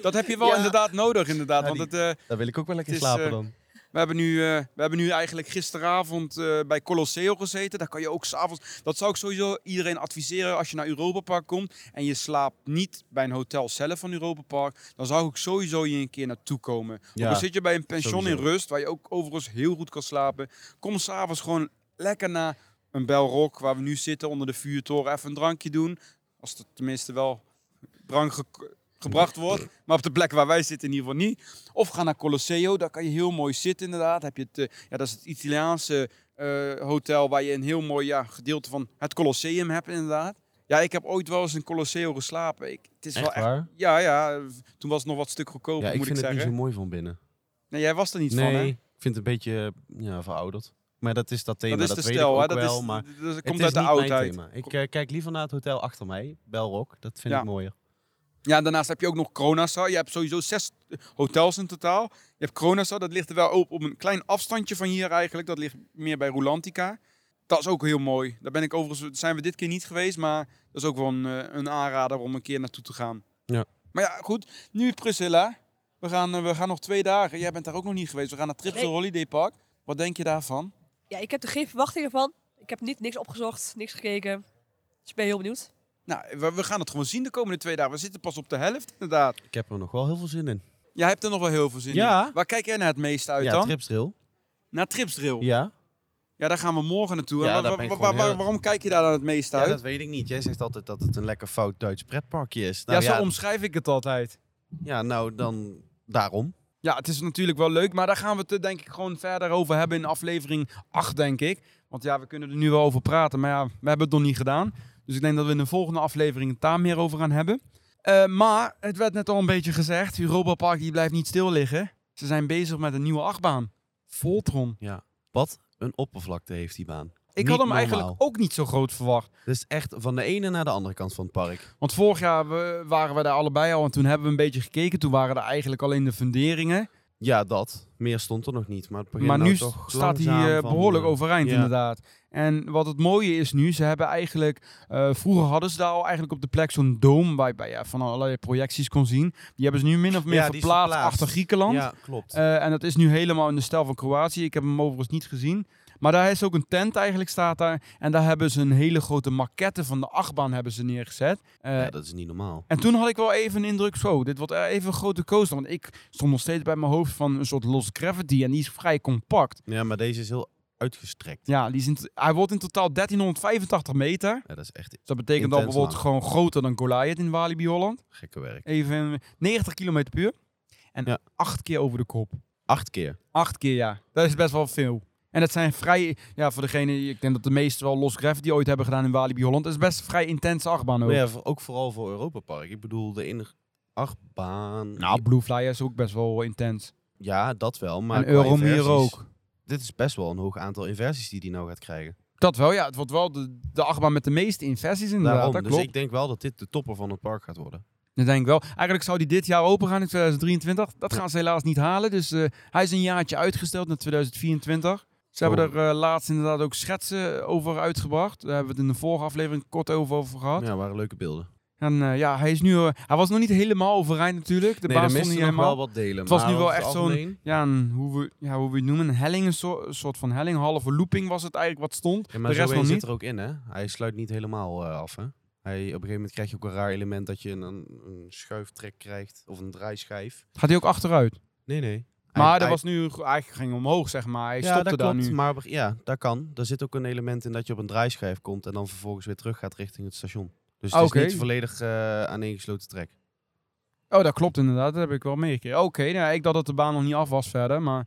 Speaker 1: Dat heb je wel
Speaker 7: Ja.
Speaker 1: inderdaad nodig, inderdaad.
Speaker 4: Ja,
Speaker 1: want
Speaker 4: die-
Speaker 1: het, eh,
Speaker 4: Daar wil ik ook wel lekker
Speaker 1: Het is,
Speaker 4: slapen
Speaker 1: eh,
Speaker 4: dan.
Speaker 1: We hebben nu, eh, we hebben nu eigenlijk gisteravond eh, bij Colosseo gezeten. Daar kan je ook s'avonds. Dat zou ik sowieso iedereen adviseren als je naar Europa Park komt. En je slaapt niet bij een hotel zelf van Europa Park. Dan zou ik sowieso hier een keer naartoe komen.
Speaker 4: Ja,
Speaker 1: dan zit je bij een pension
Speaker 4: sowieso.
Speaker 1: in rust, waar je ook overigens heel goed kan slapen. Kom s'avonds gewoon lekker naar een Belrock, waar we nu zitten onder de vuurtoren. Even een drankje doen. Als er tenminste wel drank ge- gebracht wordt. Maar op de plek waar wij zitten in ieder geval niet. Of ga naar Colosseo, daar kan je heel mooi zitten inderdaad. Heb je het, eh, ja, dat is het Italiaanse eh, hotel waar je een heel mooi ja, gedeelte van het Colosseum hebt inderdaad. Ja, ik heb ooit wel eens in Colosseo geslapen. Ik, het is wel
Speaker 4: Echt
Speaker 1: echt...
Speaker 4: waar?
Speaker 1: Ja, ja, eh, toen was het nog wat stuk goedkoper,
Speaker 4: Ja, ik
Speaker 1: moet ik
Speaker 4: vind het niet
Speaker 1: zeggen.
Speaker 4: zo mooi van binnen.
Speaker 1: Nee, jij was er niet van, hè?
Speaker 4: Nee, ik vind het een beetje ja, verouderd. Maar dat is dat thema,
Speaker 1: Dat
Speaker 4: dat,
Speaker 1: is de
Speaker 4: weet
Speaker 1: stijl,
Speaker 4: ik
Speaker 1: hè?
Speaker 4: ook
Speaker 1: Dat,
Speaker 4: wel.
Speaker 1: is,
Speaker 4: maar
Speaker 1: dat- dat
Speaker 4: het
Speaker 1: komt
Speaker 4: is
Speaker 1: uit de
Speaker 4: niet mijn
Speaker 1: oudheid.
Speaker 4: thema. Ik eh, kijk liever naar het hotel achter mij, Belrock. Dat vind
Speaker 1: Ja.
Speaker 4: ik mooier.
Speaker 1: Ja, en daarnaast heb je ook nog Kronasar. Je hebt sowieso zes hotels in totaal. Je hebt Kronasar, dat ligt er wel op, op een klein afstandje van hier eigenlijk. Dat ligt meer bij Rulantica. Dat is ook heel mooi. Daar ben ik overigens, zijn we dit keer niet geweest, maar dat is ook wel een, eh, een aanrader om een keer naartoe te gaan.
Speaker 4: Ja.
Speaker 1: Maar ja, goed. Nu Priscilla, we gaan, eh, we gaan nog twee dagen. Jij bent daar ook nog niet geweest. We gaan naar Trip
Speaker 8: Nee.
Speaker 1: Holiday Park. Wat denk je daarvan?
Speaker 8: Ja, ik heb er geen verwachtingen van. Ik heb niet niks opgezocht, niks gekeken. Dus ik ben heel benieuwd.
Speaker 1: Nou, we, we gaan het gewoon zien de komende twee dagen. We zitten pas op de helft inderdaad.
Speaker 4: Ik heb er nog wel heel veel zin in.
Speaker 1: Jij hebt er nog wel heel veel zin
Speaker 4: Ja.
Speaker 1: in. Waar kijk jij naar het meeste uit
Speaker 4: ja,
Speaker 1: dan?
Speaker 4: Tripsdrill.
Speaker 1: Naar Tripsdrill.
Speaker 4: Ja.
Speaker 1: Ja, daar gaan we morgen naartoe.
Speaker 4: Ja,
Speaker 1: En wa-
Speaker 4: daar
Speaker 1: wa-
Speaker 4: ben ik
Speaker 1: wa-
Speaker 4: gewoon
Speaker 1: wa-
Speaker 4: heel-
Speaker 1: Waarom kijk je daar dan het meest
Speaker 4: ja,
Speaker 1: uit?
Speaker 4: dat weet ik niet. Jij zegt altijd dat het een lekker fout Duits pretparkje is.
Speaker 1: Ja,
Speaker 4: Nou,
Speaker 1: zo
Speaker 4: ja,
Speaker 1: omschrijf ik het altijd.
Speaker 4: ja, nou dan daarom.
Speaker 1: Ja, het is natuurlijk wel leuk, maar daar gaan we het eh, denk ik gewoon verder over hebben in aflevering 8, denk ik. Want ja, we kunnen er nu wel over praten, maar ja, we hebben het nog niet gedaan. Dus ik denk dat we in de volgende aflevering het daar meer over gaan hebben. Eh, maar, het werd net al een beetje gezegd, Europa Park die blijft niet stil liggen. Ze zijn bezig met een nieuwe achtbaan. Voltron.
Speaker 4: Wat een oppervlakte heeft die baan.
Speaker 1: Ik
Speaker 4: Niet
Speaker 1: had hem
Speaker 4: normaal.
Speaker 1: eigenlijk ook niet zo groot verwacht.
Speaker 4: Dus echt van de ene naar de andere kant van het park.
Speaker 1: Want vorig jaar we- waren we daar allebei al en toen hebben we een beetje gekeken. Toen waren er eigenlijk alleen de funderingen.
Speaker 4: Ja, dat. Meer stond er nog niet. Maar, het begint
Speaker 1: Maar
Speaker 4: nou
Speaker 1: nu
Speaker 4: toch
Speaker 1: staat hij
Speaker 4: langzaam
Speaker 1: eh,
Speaker 4: van,
Speaker 1: behoorlijk
Speaker 4: eh,
Speaker 1: overeind
Speaker 4: ja.
Speaker 1: inderdaad. En wat het mooie is nu, ze hebben eigenlijk... eh, vroeger hadden ze daar al eigenlijk op de plek zo'n doom waarbij je van allerlei projecties kon zien. Die hebben ze nu min of meer
Speaker 4: Ja, die is
Speaker 1: verplaatst,
Speaker 4: verplaatst.
Speaker 1: achter Griekenland.
Speaker 4: Ja, klopt.
Speaker 1: Eh, en dat is nu helemaal in de stijl van Kroatië. Ik heb hem overigens niet gezien. Maar daar is ook een tent eigenlijk staat daar. En daar hebben ze een hele grote maquette van de achtbaan hebben ze neergezet. Eh,
Speaker 2: Ja, dat is niet normaal.
Speaker 1: en toen had ik wel even een indruk, zo, dit wordt eh, even een grote coaster. Want ik stond nog steeds bij mijn hoofd van een soort Lost Gravity en die is vrij compact.
Speaker 2: Ja, maar deze is heel uitgestrekt.
Speaker 1: Ja, die is in t- hij wordt in totaal 1385 meter.
Speaker 2: Ja, dat is echt
Speaker 1: Dus dat betekent dan
Speaker 2: Intens
Speaker 1: bijvoorbeeld gewoon groter dan Goliath in Walibi Holland.
Speaker 2: gekke werk.
Speaker 1: Even 90 kilometer per uur. En
Speaker 2: Ja.
Speaker 1: acht keer over de kop.
Speaker 2: Acht keer.
Speaker 1: Acht keer, ja. Dat is best wel veel. En dat zijn vrij, ja, voor degene, ik denk dat de meesten wel Los Gravity ooit hebben gedaan in Walibi Holland. Dat is best vrij intense achtbaan ook.
Speaker 2: Maar ja, voor- ook vooral voor Europa Park. Ik bedoel, de enige achtbaan...
Speaker 1: Nou, Blue Flyer is ook best wel intens.
Speaker 2: ja, dat wel, maar...
Speaker 1: en
Speaker 2: qua
Speaker 1: Euromier
Speaker 2: inversies-
Speaker 1: ook.
Speaker 2: Dit is best wel een hoog aantal inversies die die nou gaat krijgen.
Speaker 1: Dat wel, ja. Het wordt wel de, de achtbaan met de meeste inversies inderdaad.
Speaker 2: Daarom.
Speaker 1: dat
Speaker 2: dus
Speaker 1: klopt.
Speaker 2: ik denk wel dat dit de topper van het park gaat worden.
Speaker 1: Dat denk ik wel. Eigenlijk zou die dit jaar open gaan in 2023. Dat gaan ze helaas niet halen. Dus eh, hij is een jaartje uitgesteld naar 2024. Ze hebben
Speaker 2: Oh.
Speaker 1: er eh, laatst inderdaad ook schetsen over uitgebracht. Daar hebben we het in de vorige aflevering kort over, over gehad.
Speaker 2: Ja, waren leuke beelden.
Speaker 1: En eh, ja, hij is nu. eh, hij was nog niet helemaal overeind natuurlijk. De
Speaker 2: nee,
Speaker 1: baan
Speaker 2: er
Speaker 1: stond
Speaker 2: misten
Speaker 1: niet
Speaker 2: nog
Speaker 1: helemaal.
Speaker 2: wel wat delen.
Speaker 1: Het was
Speaker 2: maar
Speaker 1: nu wel
Speaker 2: over het
Speaker 1: echt zo'n-
Speaker 2: algemeen-
Speaker 1: Ja, een, hoe we, ja, hoe we het noemen, een helling, een soort, een soort van helling. Halve looping was het eigenlijk wat stond.
Speaker 2: Ja, maar
Speaker 1: de rest
Speaker 2: zo
Speaker 1: nog
Speaker 2: zit
Speaker 1: niet.
Speaker 2: er ook in, hè? Hij sluit niet helemaal eh, af, hè? Hij, op een gegeven moment krijg je ook een raar element dat je een, een, een schuiftrek krijgt of een draaischijf.
Speaker 1: Gaat hij ook achteruit?
Speaker 2: Nee, nee.
Speaker 1: Maar er was nu eigenlijk ging omhoog, zeg maar. Hij
Speaker 2: ja,
Speaker 1: stopte
Speaker 2: dat
Speaker 1: daar
Speaker 2: klopt,
Speaker 1: nu.
Speaker 2: Maar ja, daar kan. Daar zit ook een element in dat je op een draaischijf komt en dan vervolgens weer terug gaat richting het station. Dus het
Speaker 1: Oké.
Speaker 2: is niet volledig eh aaneengesloten trek.
Speaker 1: Oh, dat klopt inderdaad. Dat heb ik wel meegekregen. Oké, nou, ik dacht dat de baan nog niet af was verder, maar...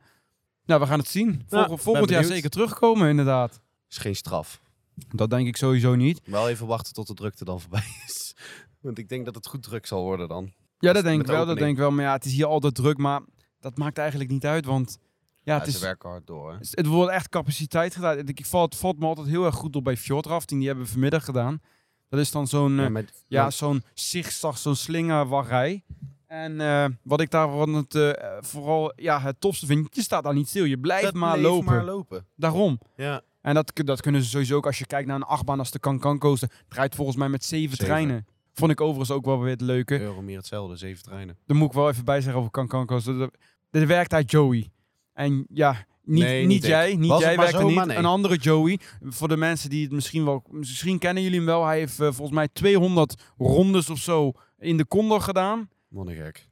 Speaker 1: Nou, we gaan het zien. Volg-
Speaker 2: ben
Speaker 1: volgend jaar
Speaker 2: benieuwd.
Speaker 1: zeker terugkomen, inderdaad.
Speaker 2: Is geen straf.
Speaker 1: Dat denk ik sowieso niet.
Speaker 2: Wel even wachten tot de drukte dan voorbij is. Want ik denk dat het goed druk zal worden dan.
Speaker 1: Ja, dat denk
Speaker 2: met
Speaker 1: ik
Speaker 2: de
Speaker 1: wel, dat
Speaker 2: opening.
Speaker 1: denk ik wel. Maar ja, het is hier altijd druk, maar dat maakt eigenlijk niet uit, want... Ja, het
Speaker 2: Ja,
Speaker 1: is...
Speaker 2: Ze werken hard door, hè?
Speaker 1: Het wordt echt capaciteit gedaan. Ik- Ik valt, valt me altijd heel erg goed op bij fjordrafting. Die hebben we vanmiddag gedaan. Dat is dan zo'n... eh,
Speaker 2: Ja, maar-
Speaker 1: Ja, zo'n zigzag, zo'n slingerwaggerij. En eh, wat ik daarvan het, eh, vooral ja, het topste vind, je staat daar niet stil. Je blijft
Speaker 2: dat
Speaker 1: maar
Speaker 2: bleef
Speaker 1: lopen.
Speaker 2: maar lopen.
Speaker 1: Daarom.
Speaker 2: Ja.
Speaker 1: En dat, kun- dat kunnen ze sowieso ook als je kijkt naar een achtbaan als de Cancan Coaster. Het rijdt volgens mij met zeven,
Speaker 2: Zeven.
Speaker 1: treinen. Vond ik overigens ook wel weer het leuke.
Speaker 2: Euro meer hetzelfde, zeven treinen.
Speaker 1: Daar moet ik wel even bij zeggen over Cancan Coaster. Dat- Dit werkt uit Joey. En ja, niet,
Speaker 2: Nee,
Speaker 1: niet,
Speaker 2: niet ik.
Speaker 1: jij. Niet
Speaker 2: Was
Speaker 1: jij
Speaker 2: het maar
Speaker 1: werkt er
Speaker 2: zo,
Speaker 1: niet.
Speaker 2: maar nee.
Speaker 1: Een andere Joey. Voor de mensen die het misschien wel... Misschien kennen jullie hem wel. Hij heeft eh, volgens mij 200 rondes of zo in de Condor gedaan.
Speaker 2: Monnengek.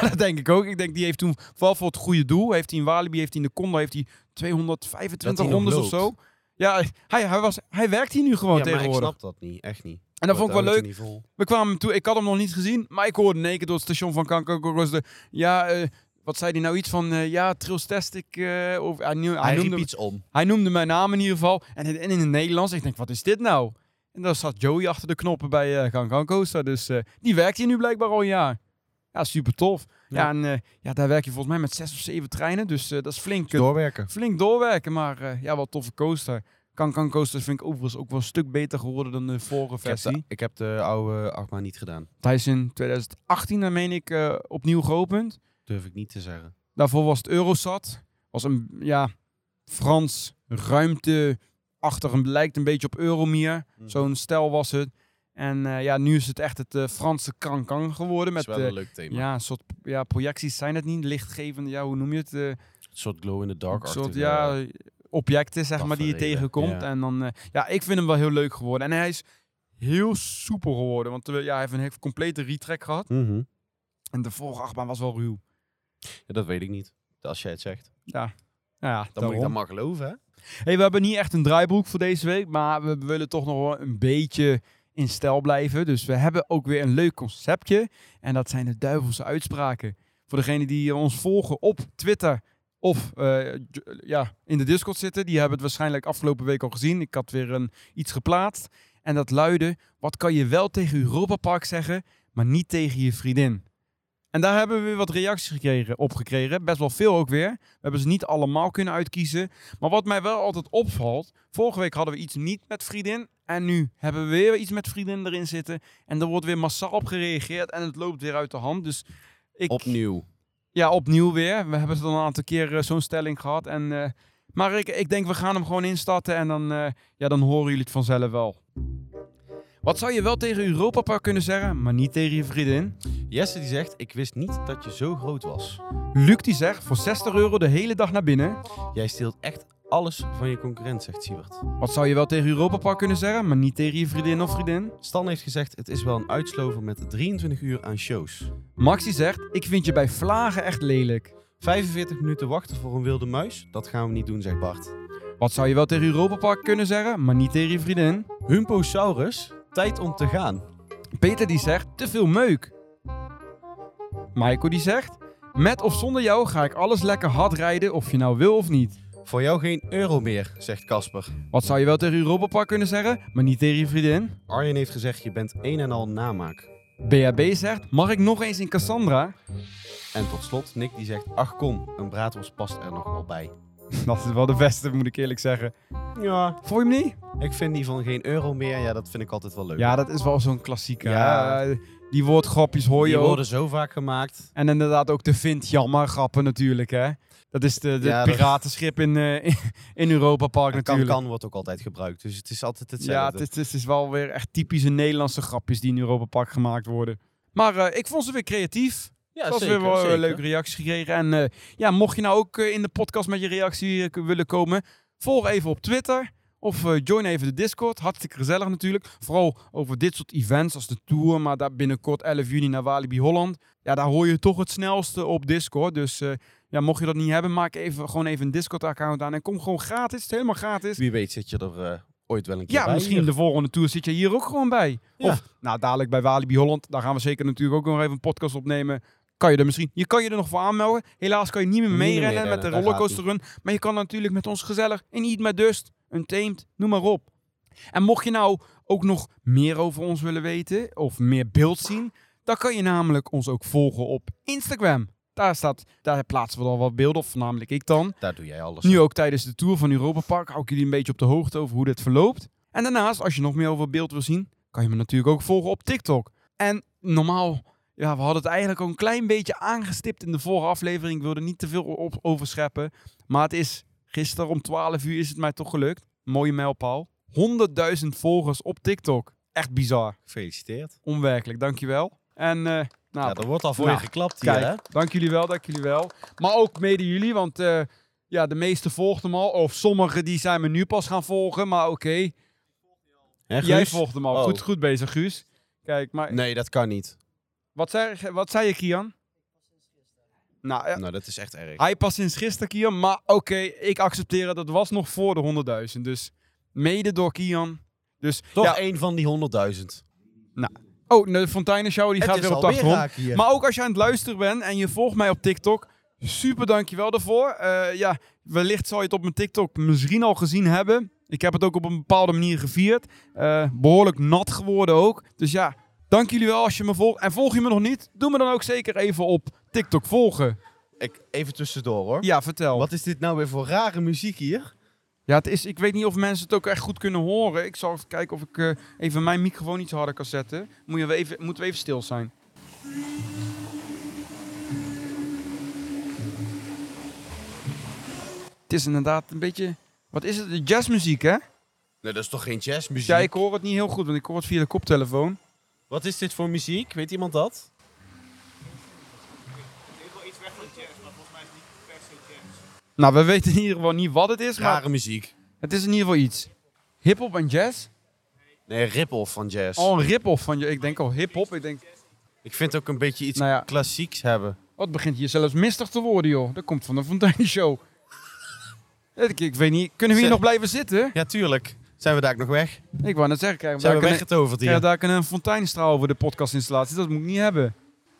Speaker 1: Dat denk ik ook. Ik denk, die heeft toen vooral voor het goede doel. Heeft hij in Walibi, heeft hij in de Condor, heeft hij 225
Speaker 2: Dat hij nog
Speaker 1: rondes of zo.
Speaker 2: loopt.
Speaker 1: Ja, hij, hij, was, hij werkt hier nu gewoon
Speaker 2: ja, maar ik
Speaker 1: Oh, tegenwoordig.
Speaker 2: snap dat niet. Echt niet.
Speaker 1: en dat vond ik wel leuk.
Speaker 2: Vol.
Speaker 1: We kwamen hem toe, ik had hem nog niet gezien, maar ik hoorde in één keer door het station van Kankerkokos de... Ja, eh, wat zei hij nou? Iets van, eh, ja, Trillstastic. eh of, hij, nu- hij
Speaker 2: Hij riep
Speaker 1: noemde,
Speaker 2: iets om.
Speaker 1: hij noemde mijn naam in ieder geval. En in, en in het Nederlands. Ik denk, wat is dit nou? En daar zat Joey achter de knoppen bij eh Gangan Coaster. Dus eh, die werkt hier nu blijkbaar al een jaar. Ja, super tof. Ja,
Speaker 2: Ja.
Speaker 1: en eh, ja, daar werk je volgens mij met zes of zeven treinen. Dus eh, dat is flink, eh,
Speaker 2: Doorwerken.
Speaker 1: flink doorwerken. Maar eh, ja, wel toffe coaster. Kankan Coasters vind ik overigens ook wel een stuk beter geworden dan de vorige
Speaker 2: Ik heb,
Speaker 1: versie.
Speaker 2: de, ik heb de oude achtbaan niet gedaan.
Speaker 1: Hij is in 2018, dan meen ik, eh, opnieuw geopend.
Speaker 2: Durf ik niet te zeggen.
Speaker 1: Daarvoor was het Eurosat. Was een, ja, Frans ruimte achter. Een, lijkt een beetje op Euromir.
Speaker 2: Mm.
Speaker 1: Zo'n stijl was het. En eh, ja, nu is het echt het eh, Franse kankan geworden.
Speaker 2: Met,
Speaker 1: Met
Speaker 2: is wel
Speaker 1: eh,
Speaker 2: een leuk thema.
Speaker 1: ja, een soort ja, projecties zijn het niet. Lichtgevende, ja, hoe noem je het? eh,
Speaker 2: Een soort glow in the dark.
Speaker 1: een soort ja, objecten, zeg maar, die je
Speaker 2: tafereelen,
Speaker 1: tegenkomt.
Speaker 2: ja.
Speaker 1: En dan, eh, ja, ik vind hem wel heel leuk geworden. En hij is heel soepel geworden. Want eh, ja, hij heeft een hele complete retrack gehad.
Speaker 2: Mhm.
Speaker 1: En de vorige achtbaan was wel ruw.
Speaker 2: ja, dat weet ik niet. Als jij het zegt. Dan
Speaker 1: Nou ja,
Speaker 2: moet
Speaker 1: daarom.
Speaker 2: ik dat maar geloven, hè?
Speaker 1: Hey, we hebben niet echt een draaiboek voor deze week, maar we willen toch nog wel een beetje in stijl blijven. Dus we hebben ook weer een leuk conceptje. En dat zijn de duivelse uitspraken. Voor degenen die eh, ons volgen op Twitter of eh, j- ja, in de Discord zitten, die hebben het waarschijnlijk afgelopen week al gezien. Ik had weer een, iets geplaatst. En dat luidde, wat kan je wel tegen Europa Park zeggen, maar niet tegen je vriendin? En daar hebben we weer wat reacties gekregen, op gekregen. Best wel veel ook weer. We hebben ze niet allemaal kunnen uitkiezen. Maar wat mij wel altijd opvalt, vorige week hadden we iets niet met vriendin. En nu hebben we weer iets met vriendin erin zitten. En er wordt weer massaal op gereageerd en het loopt weer uit de hand. Dus ik,
Speaker 2: Opnieuw.
Speaker 1: ja, opnieuw weer. We hebben het al een aantal keer eh, zo'n stelling gehad. En, eh, maar ik, ik denk, we gaan hem gewoon instarten en dan, eh, ja, dan horen jullie het vanzelf wel. Wat zou je wel tegen Europa Park kunnen zeggen, maar niet tegen je vriendin?
Speaker 2: Jesse die zegt, ik wist niet dat je zo groot was.
Speaker 1: Luc die zegt, voor 60 euro de hele dag naar binnen.
Speaker 2: Jij steelt echt alles van je concurrent, zegt Siebert.
Speaker 1: Wat zou je wel tegen Europa Park kunnen zeggen, maar niet tegen je vriendin of vriendin?
Speaker 2: Stan heeft gezegd, het is wel een uitslover met 23 uur aan shows.
Speaker 1: Maxi zegt, ik vind je bij vlagen echt lelijk.
Speaker 2: 45 minuten wachten voor een wilde muis, dat gaan we niet doen, zegt Bart.
Speaker 1: Wat zou je wel tegen Europa Park kunnen zeggen, maar niet tegen je vriendin?
Speaker 2: Humposaurus, tijd om te gaan.
Speaker 1: Peter die zegt, te veel meuk. Michael die zegt, met of zonder jou ga ik alles lekker hard rijden of je nou wil of niet.
Speaker 2: Voor jou geen euro meer, zegt Casper.
Speaker 1: Wat zou je wel tegen Europa Park kunnen zeggen, maar niet tegen je vriendin?
Speaker 2: Arjen heeft gezegd, je bent een en al namaak.
Speaker 1: BHB zegt, mag ik nog eens in Cassandra?
Speaker 2: En tot slot, Nick die zegt, ach kom, een braadworst past er nog wel bij.
Speaker 1: Dat is wel de beste, moet ik eerlijk zeggen.
Speaker 2: Ja,
Speaker 1: Vond je hem niet?
Speaker 2: ik vind die van geen euro meer, ja dat vind ik altijd wel leuk.
Speaker 1: Ja, dat is wel zo'n klassieker.
Speaker 2: Ja.
Speaker 1: Ja, die woordgrapjes hoor je
Speaker 2: die
Speaker 1: ook.
Speaker 2: worden zo vaak gemaakt.
Speaker 1: En inderdaad ook de vind jammer grappen natuurlijk, hè. Dat is de, de
Speaker 2: Ja, dat-
Speaker 1: piratenschip in, eh, in- in Europa Park
Speaker 2: En kan
Speaker 1: natuurlijk.
Speaker 2: kan wordt ook altijd gebruikt, dus het is altijd hetzelfde.
Speaker 1: Ja, het is, het, is, het is wel weer echt typische Nederlandse grapjes die in Europa Park gemaakt worden. Maar eh, ik vond ze weer creatief.
Speaker 2: ja,
Speaker 1: Dat was weer wel eh, een leuke reactie gekregen. En eh, ja, mocht je nou ook eh, in de podcast met je reactie eh, k- willen komen, volg even op Twitter. Of eh, join even de Discord. Hartstikke gezellig natuurlijk. Vooral over dit soort events als de Tour. Maar daar binnenkort 11 juni naar Walibi Holland. Ja, daar hoor je toch het snelste op Discord. Dus eh, ja, mocht je dat niet hebben, maak even, gewoon even een Discord-account aan. En kom gewoon gratis. Het is helemaal gratis.
Speaker 2: Wie weet zit je er eh, ooit wel een keer
Speaker 1: Ja,
Speaker 2: bij
Speaker 1: misschien
Speaker 2: hier.
Speaker 1: de volgende tour zit je hier ook gewoon bij.
Speaker 2: Ja.
Speaker 1: Of nou, dadelijk bij Walibi Holland. Daar gaan we zeker natuurlijk ook nog even een podcast opnemen. Kan je er misschien? Je kan je er nog voor aanmelden. Helaas kan je niet meer
Speaker 2: Niet meer
Speaker 1: meerennen met
Speaker 2: meerennen,
Speaker 1: de
Speaker 2: daar
Speaker 1: rollercoaster run. Maar je kan natuurlijk met ons gezellig in Eat met Dust, een Tamed, noem maar op. En mocht je nou ook nog meer over ons willen weten of meer beeld zien, dan kan je namelijk ons ook volgen op Instagram. Daar, staat, daar plaatsen we dan wat beelden, of voornamelijk ik dan.
Speaker 2: Daar doe jij alles.
Speaker 1: Nu ook tijdens de tour van Europa Park hou ik jullie een beetje op de hoogte over hoe dit verloopt. En daarnaast, als je nog meer over beeld wil zien, kan je me natuurlijk ook volgen op TikTok. En normaal, ja, we hadden het eigenlijk al een klein beetje aangestipt in de vorige aflevering. Ik wilde niet te veel op overscheppen. Maar het is gisteren om 12 uur is het mij toch gelukt. Mooie mijlpaal. 100.000 volgers op TikTok. Echt bizar.
Speaker 2: Gefeliciteerd.
Speaker 1: Onwerkelijk, dankjewel. En eh, nou,
Speaker 2: Ja, er wordt al voor
Speaker 1: Nou,
Speaker 2: je geklapt hier,
Speaker 1: Kijk,
Speaker 2: hè?
Speaker 1: dank jullie wel, dank jullie wel. Maar ook mede jullie, want eh, ja, de meeste volgden hem al. Of sommigen die zijn me nu pas gaan volgen, maar oké.
Speaker 2: Hè,
Speaker 1: Jij
Speaker 2: Guus?
Speaker 1: volgt hem al.
Speaker 2: Oh.
Speaker 1: Goed, goed bezig, Guus. Kijk, maar
Speaker 2: Nee, dat kan niet.
Speaker 1: wat, zei, wat zei je, Kian? Nou, eh,
Speaker 2: Nou, dat is echt erg.
Speaker 1: hij pas sinds gisteren, Kian. Maar oké, ik accepteer het. Dat was nog voor de 100.000. Dus mede door Kian. Dus,
Speaker 2: Toch
Speaker 1: ja,
Speaker 2: één van die 100.000.
Speaker 1: oh, de Fonteinenshow die gaat weer op 80 rond.
Speaker 2: hier.
Speaker 1: Maar ook als je aan het luisteren bent en je volgt mij op TikTok, super dankjewel daarvoor. Eh, ja, wellicht zal je het op mijn TikTok misschien al gezien hebben. Ik heb het ook op een bepaalde manier gevierd. Eh, behoorlijk nat geworden ook. Dus ja, dank jullie wel als je me volgt. En volg je me nog niet, doe me dan ook zeker even op TikTok volgen.
Speaker 2: Ik, even tussendoor, hoor.
Speaker 1: Ja, vertel.
Speaker 2: Wat is dit nou weer voor rare muziek hier?
Speaker 1: Ja, het is, ik weet niet of mensen het ook echt goed kunnen horen. Ik zal even kijken of ik eh, even mijn microfoon iets harder kan zetten. Moet je wel even, moeten we even stil zijn. Het is inderdaad een beetje... Wat is het? Jazzmuziek, hè?
Speaker 2: Nee, dat is toch geen jazzmuziek?
Speaker 1: Ja, ik hoor het niet heel goed, want ik hoor het via de koptelefoon.
Speaker 2: Wat is dit voor muziek? Weet iemand dat?
Speaker 1: Nou, we weten in ieder geval niet wat het is, maar
Speaker 2: Rare muziek.
Speaker 1: het is in ieder geval iets. Hip-hop en jazz?
Speaker 2: Nee, rip-off van jazz.
Speaker 1: Al een rip-off van je. Ik denk al hip-hop. Ik denk,
Speaker 2: Ik vind ook een beetje iets
Speaker 1: nou ja,
Speaker 2: klassieks hebben.
Speaker 1: Wat Oh, begint hier zelfs mistig te worden, joh. Dat komt van de fonteinshow. ik, ik weet niet, kunnen we hier
Speaker 2: Zeg-
Speaker 1: nog blijven zitten?
Speaker 2: Ja, tuurlijk. Zijn we daar ook nog weg?
Speaker 1: Ik wou net zeggen, krijgen we
Speaker 2: Zijn we
Speaker 1: daar een,
Speaker 2: weggetoverd hier?
Speaker 1: krijgen we daar een fonteinstraal voor de podcastinstallatie? Dat moet ik niet hebben.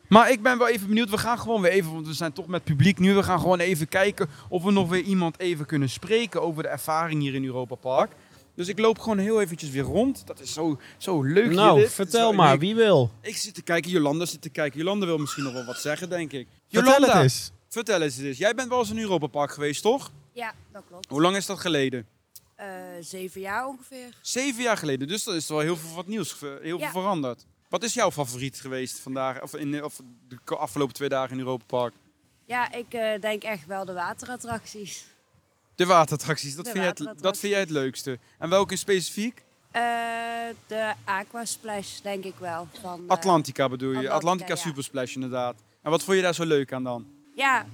Speaker 1: Maar ik ben wel even benieuwd. We gaan gewoon weer even, want we zijn toch met publiek nu. We gaan gewoon even kijken of we nog weer iemand even kunnen spreken over de ervaring hier in Europa Park. Dus ik loop gewoon heel eventjes weer rond. Dat is zo, zo leuk. hier, dit.
Speaker 2: nou,
Speaker 1: Het is
Speaker 2: vertel
Speaker 1: wel
Speaker 2: maar.
Speaker 1: uniek.
Speaker 2: Wie wil?
Speaker 1: Ik zit te kijken, Jolanda zit te kijken. Jolanda wil misschien nog wel wat zeggen, denk ik.
Speaker 2: Vertel
Speaker 1: Jolanda.
Speaker 2: het eens.
Speaker 1: Vertel eens eens. Jij bent wel eens in Europa Park geweest, toch?
Speaker 9: Ja, dat klopt.
Speaker 1: Hoe lang is dat geleden?
Speaker 9: Eh, zeven jaar ongeveer.
Speaker 1: Zeven jaar geleden. Dus er is wel heel veel wat nieuws, ge- heel
Speaker 9: Ja.
Speaker 1: veel veranderd. Wat is jouw favoriet geweest vandaag, of in de, of de ko- afgelopen twee dagen in Europa Park?
Speaker 9: Ja, ik eh, denk echt wel de waterattracties.
Speaker 1: De waterattracties, dat,
Speaker 9: De
Speaker 1: vind, Jij het, dat
Speaker 9: waterattracties.
Speaker 1: vind jij het leukste. En welke in specifiek?
Speaker 9: Eh, de aquasplash denk ik wel. Van, eh,
Speaker 1: Atlantica bedoel je, Atlantica,
Speaker 9: Atlantica, ja.
Speaker 1: Supersplash inderdaad. En wat vond je daar zo leuk aan dan?
Speaker 9: Ja,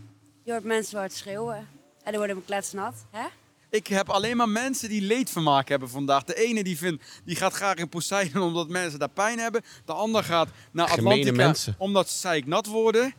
Speaker 9: je hoort mensen wat schreeuwen. En dan worden we kletsnat, hè?
Speaker 1: Ik heb alleen maar mensen die leedvermaak hebben vandaag. De ene die, vindt, die gaat graag in Poseidon omdat mensen daar pijn hebben. De ander gaat naar
Speaker 2: Gemene
Speaker 1: Atlantica
Speaker 2: mensen.
Speaker 1: omdat ze zeiknat worden.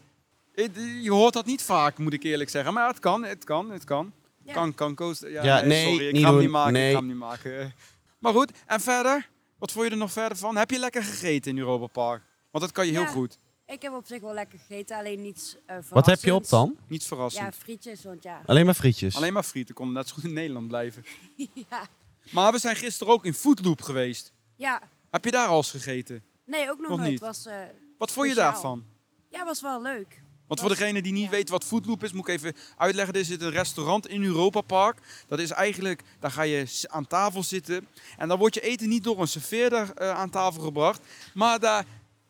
Speaker 1: Het- Je hoort dat niet vaak, moet ik eerlijk zeggen. Maar het kan, het kan, het kan.
Speaker 9: Ja.
Speaker 1: Kan, kan, koos. Ja,
Speaker 2: Ja,
Speaker 1: nee,
Speaker 2: nee,
Speaker 1: sorry, ik
Speaker 2: niet
Speaker 1: ga hem
Speaker 2: doen.
Speaker 1: niet maken. Ik
Speaker 2: Nee.
Speaker 1: ga hem niet maken. Maar goed, en verder? Wat vond je er nog verder van? Heb je lekker gegeten in Europa Park? Want dat kan je heel
Speaker 9: Ja.
Speaker 1: goed.
Speaker 9: Ik heb op zich wel lekker gegeten, alleen niets eh
Speaker 2: Wat heb je op
Speaker 9: verrassends.
Speaker 2: dan?
Speaker 1: Niet verrassend.
Speaker 9: Ja, frietjes, want ja.
Speaker 2: Alleen maar frietjes.
Speaker 1: Alleen maar frieten, kon net zo goed in Nederland blijven.
Speaker 9: ja.
Speaker 1: Maar we zijn gisteren ook in Foodloop geweest.
Speaker 9: Ja,
Speaker 1: Heb je daar al eens gegeten?
Speaker 9: nee, ook nog,
Speaker 1: Nog
Speaker 9: nooit.
Speaker 1: niet.
Speaker 9: Was, eh,
Speaker 1: Wat vond je
Speaker 9: Speciaal.
Speaker 1: daarvan?
Speaker 9: ja, was wel leuk.
Speaker 1: Want voor degene die niet weet wat Foodloop is, moet ik even uitleggen. Dit is een restaurant in Europa Park. Dat is eigenlijk, daar ga je s- aan tafel zitten. En dan wordt je eten niet door een serveerder eh, aan tafel gebracht. Maar daar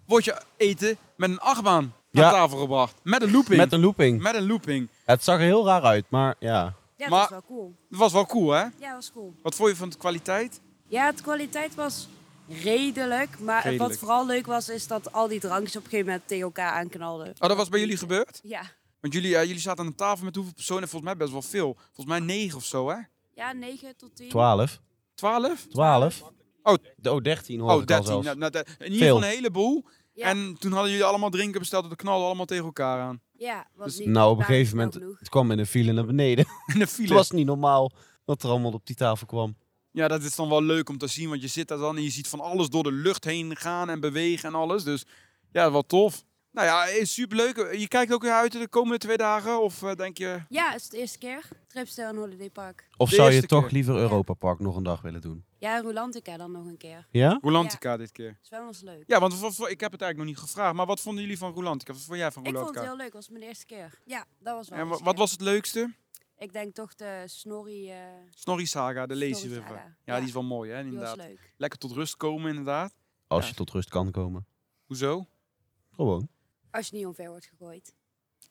Speaker 1: wordt je eten met een achtbaan
Speaker 2: Ja.
Speaker 1: aan tafel gebracht. Met een looping.
Speaker 2: Met een looping.
Speaker 1: Met een looping.
Speaker 2: Ja, het zag er heel raar uit, maar ja.
Speaker 9: Ja, dat
Speaker 1: Maar-
Speaker 9: was wel cool.
Speaker 1: Dat was wel cool, hè?
Speaker 9: Ja, was cool.
Speaker 1: Wat vond je van de kwaliteit?
Speaker 9: Ja, de kwaliteit was redelijk. Maar
Speaker 1: Redelijk.
Speaker 9: wat vooral leuk was, is dat al die drankjes op een gegeven moment tegen elkaar aanknalden.
Speaker 1: Oh, dat was bij jullie gebeurd?
Speaker 9: Ja,
Speaker 1: Want jullie, eh, jullie zaten aan de tafel met hoeveel personen? Volgens mij best wel veel. Volgens mij negen of zo, hè?
Speaker 9: ja 9 tot 10.
Speaker 2: 12.
Speaker 1: Twaalf?
Speaker 2: 12?
Speaker 1: Oh.
Speaker 2: oh 13 hoor
Speaker 1: Oh,
Speaker 2: ik al
Speaker 1: 13.
Speaker 2: zelfs.
Speaker 1: Nou, nou, dat- in ieder geval een heleboel.
Speaker 9: Ja.
Speaker 1: En toen hadden jullie allemaal drinken besteld. Dat knallen allemaal tegen elkaar aan.
Speaker 9: Ja, was
Speaker 1: Dus-
Speaker 9: niet
Speaker 2: Nou, op een
Speaker 9: maar
Speaker 2: gegeven
Speaker 9: wel
Speaker 2: moment,
Speaker 9: genoeg.
Speaker 2: het kwam in een file naar beneden.
Speaker 1: En de
Speaker 2: Het
Speaker 1: file.
Speaker 2: was niet normaal wat er allemaal op die tafel kwam.
Speaker 1: Ja, dat is dan wel leuk om te zien. Want je zit daar dan en je ziet van alles door de lucht heen gaan en bewegen en alles. Dus ja, wel tof. Nou ja, is superleuk. Je kijkt ook weer uit de komende twee dagen? Of eh, denk je...
Speaker 9: Ja, het is de eerste keer. Tripstijl en Holiday Park.
Speaker 2: Of
Speaker 1: De
Speaker 2: zou je
Speaker 1: eerste
Speaker 2: toch
Speaker 1: keer.
Speaker 2: liever Europa Park nog een dag willen doen?
Speaker 9: Ja, Rolantica dan nog een keer.
Speaker 2: Ja?
Speaker 1: Rolantica dit keer?
Speaker 9: Zwem was leuk.
Speaker 1: Ja, want wat- wat- ik heb het eigenlijk nog niet gevraagd. Maar wat vonden jullie van Rolantica? Wat vond jij van
Speaker 9: Ik vond het
Speaker 1: Rolantica?
Speaker 9: heel leuk, was mijn eerste keer. Ja, dat was wel.
Speaker 1: En
Speaker 9: mijn
Speaker 1: wa-
Speaker 9: eerste
Speaker 1: wat
Speaker 9: keer.
Speaker 1: was het leukste?
Speaker 9: Ik denk toch de Snorri. eh,
Speaker 1: Snorri Saga, de Lazy
Speaker 9: Snorri
Speaker 1: River.
Speaker 9: Saga.
Speaker 1: Ja,
Speaker 9: Ja.
Speaker 1: die is wel mooi, hè,
Speaker 9: die was
Speaker 1: inderdaad.
Speaker 9: leuk.
Speaker 1: Lekker tot rust komen, inderdaad.
Speaker 2: Als
Speaker 1: Ja.
Speaker 2: je tot rust kan komen.
Speaker 1: Hoezo?
Speaker 2: Gewoon.
Speaker 9: Als je niet omver wordt gegooid.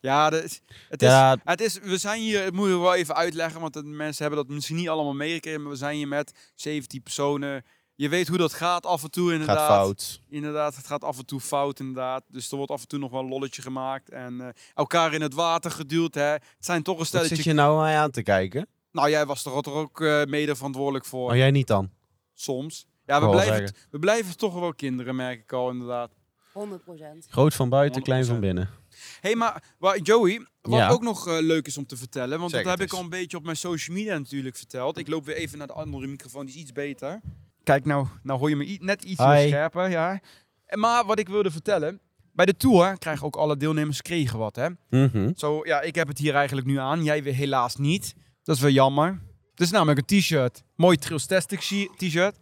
Speaker 1: Ja, dat is- het is,
Speaker 2: Ja,
Speaker 1: het is, we zijn hier, het moeten we wel even uitleggen, want de mensen hebben dat misschien niet allemaal meegekregen, maar we zijn hier met 17 personen. Je weet hoe dat gaat af en toe, inderdaad.
Speaker 2: gaat fout.
Speaker 1: Inderdaad, het gaat af en toe fout, inderdaad. Dus er wordt af en toe nog wel een lolletje gemaakt en eh, elkaar in het water geduwd, hè. Het zijn toch een
Speaker 2: Wat
Speaker 1: stelletje...
Speaker 2: zit je nou mij aan te kijken?
Speaker 1: Nou, jij was er toch ook eh, mede verantwoordelijk voor,
Speaker 2: Maar jij niet dan?
Speaker 1: soms. Ja, we
Speaker 2: Oh Wou wel
Speaker 1: blijven,
Speaker 2: zeggen.
Speaker 1: we blijven toch wel kinderen, merk ik al, inderdaad.
Speaker 9: 100
Speaker 2: Groot van buiten, klein
Speaker 1: 100%.
Speaker 2: van binnen.
Speaker 1: Hé, hey, maar wa- Joey, wat
Speaker 2: Ja.
Speaker 1: ook nog eh, leuk is om te vertellen, want
Speaker 2: Zeg
Speaker 1: dat
Speaker 2: het
Speaker 1: heb ik
Speaker 2: eens.
Speaker 1: al een beetje op mijn social media natuurlijk verteld. Ik loop weer even naar de andere microfoon, die is iets beter. Kijk, nou, nou hoor je me i- net iets meer
Speaker 2: Hi.
Speaker 1: scherper, ja. En Maar wat ik wilde vertellen, bij de tour krijgen ook alle deelnemers kregen wat, hè.
Speaker 2: Mhm.
Speaker 1: Zo, ja, ik heb het hier eigenlijk nu aan, jij weer helaas niet. Dat is wel jammer. Het is namelijk een t-shirt. Mooi Trilstastic shi- t-shirt.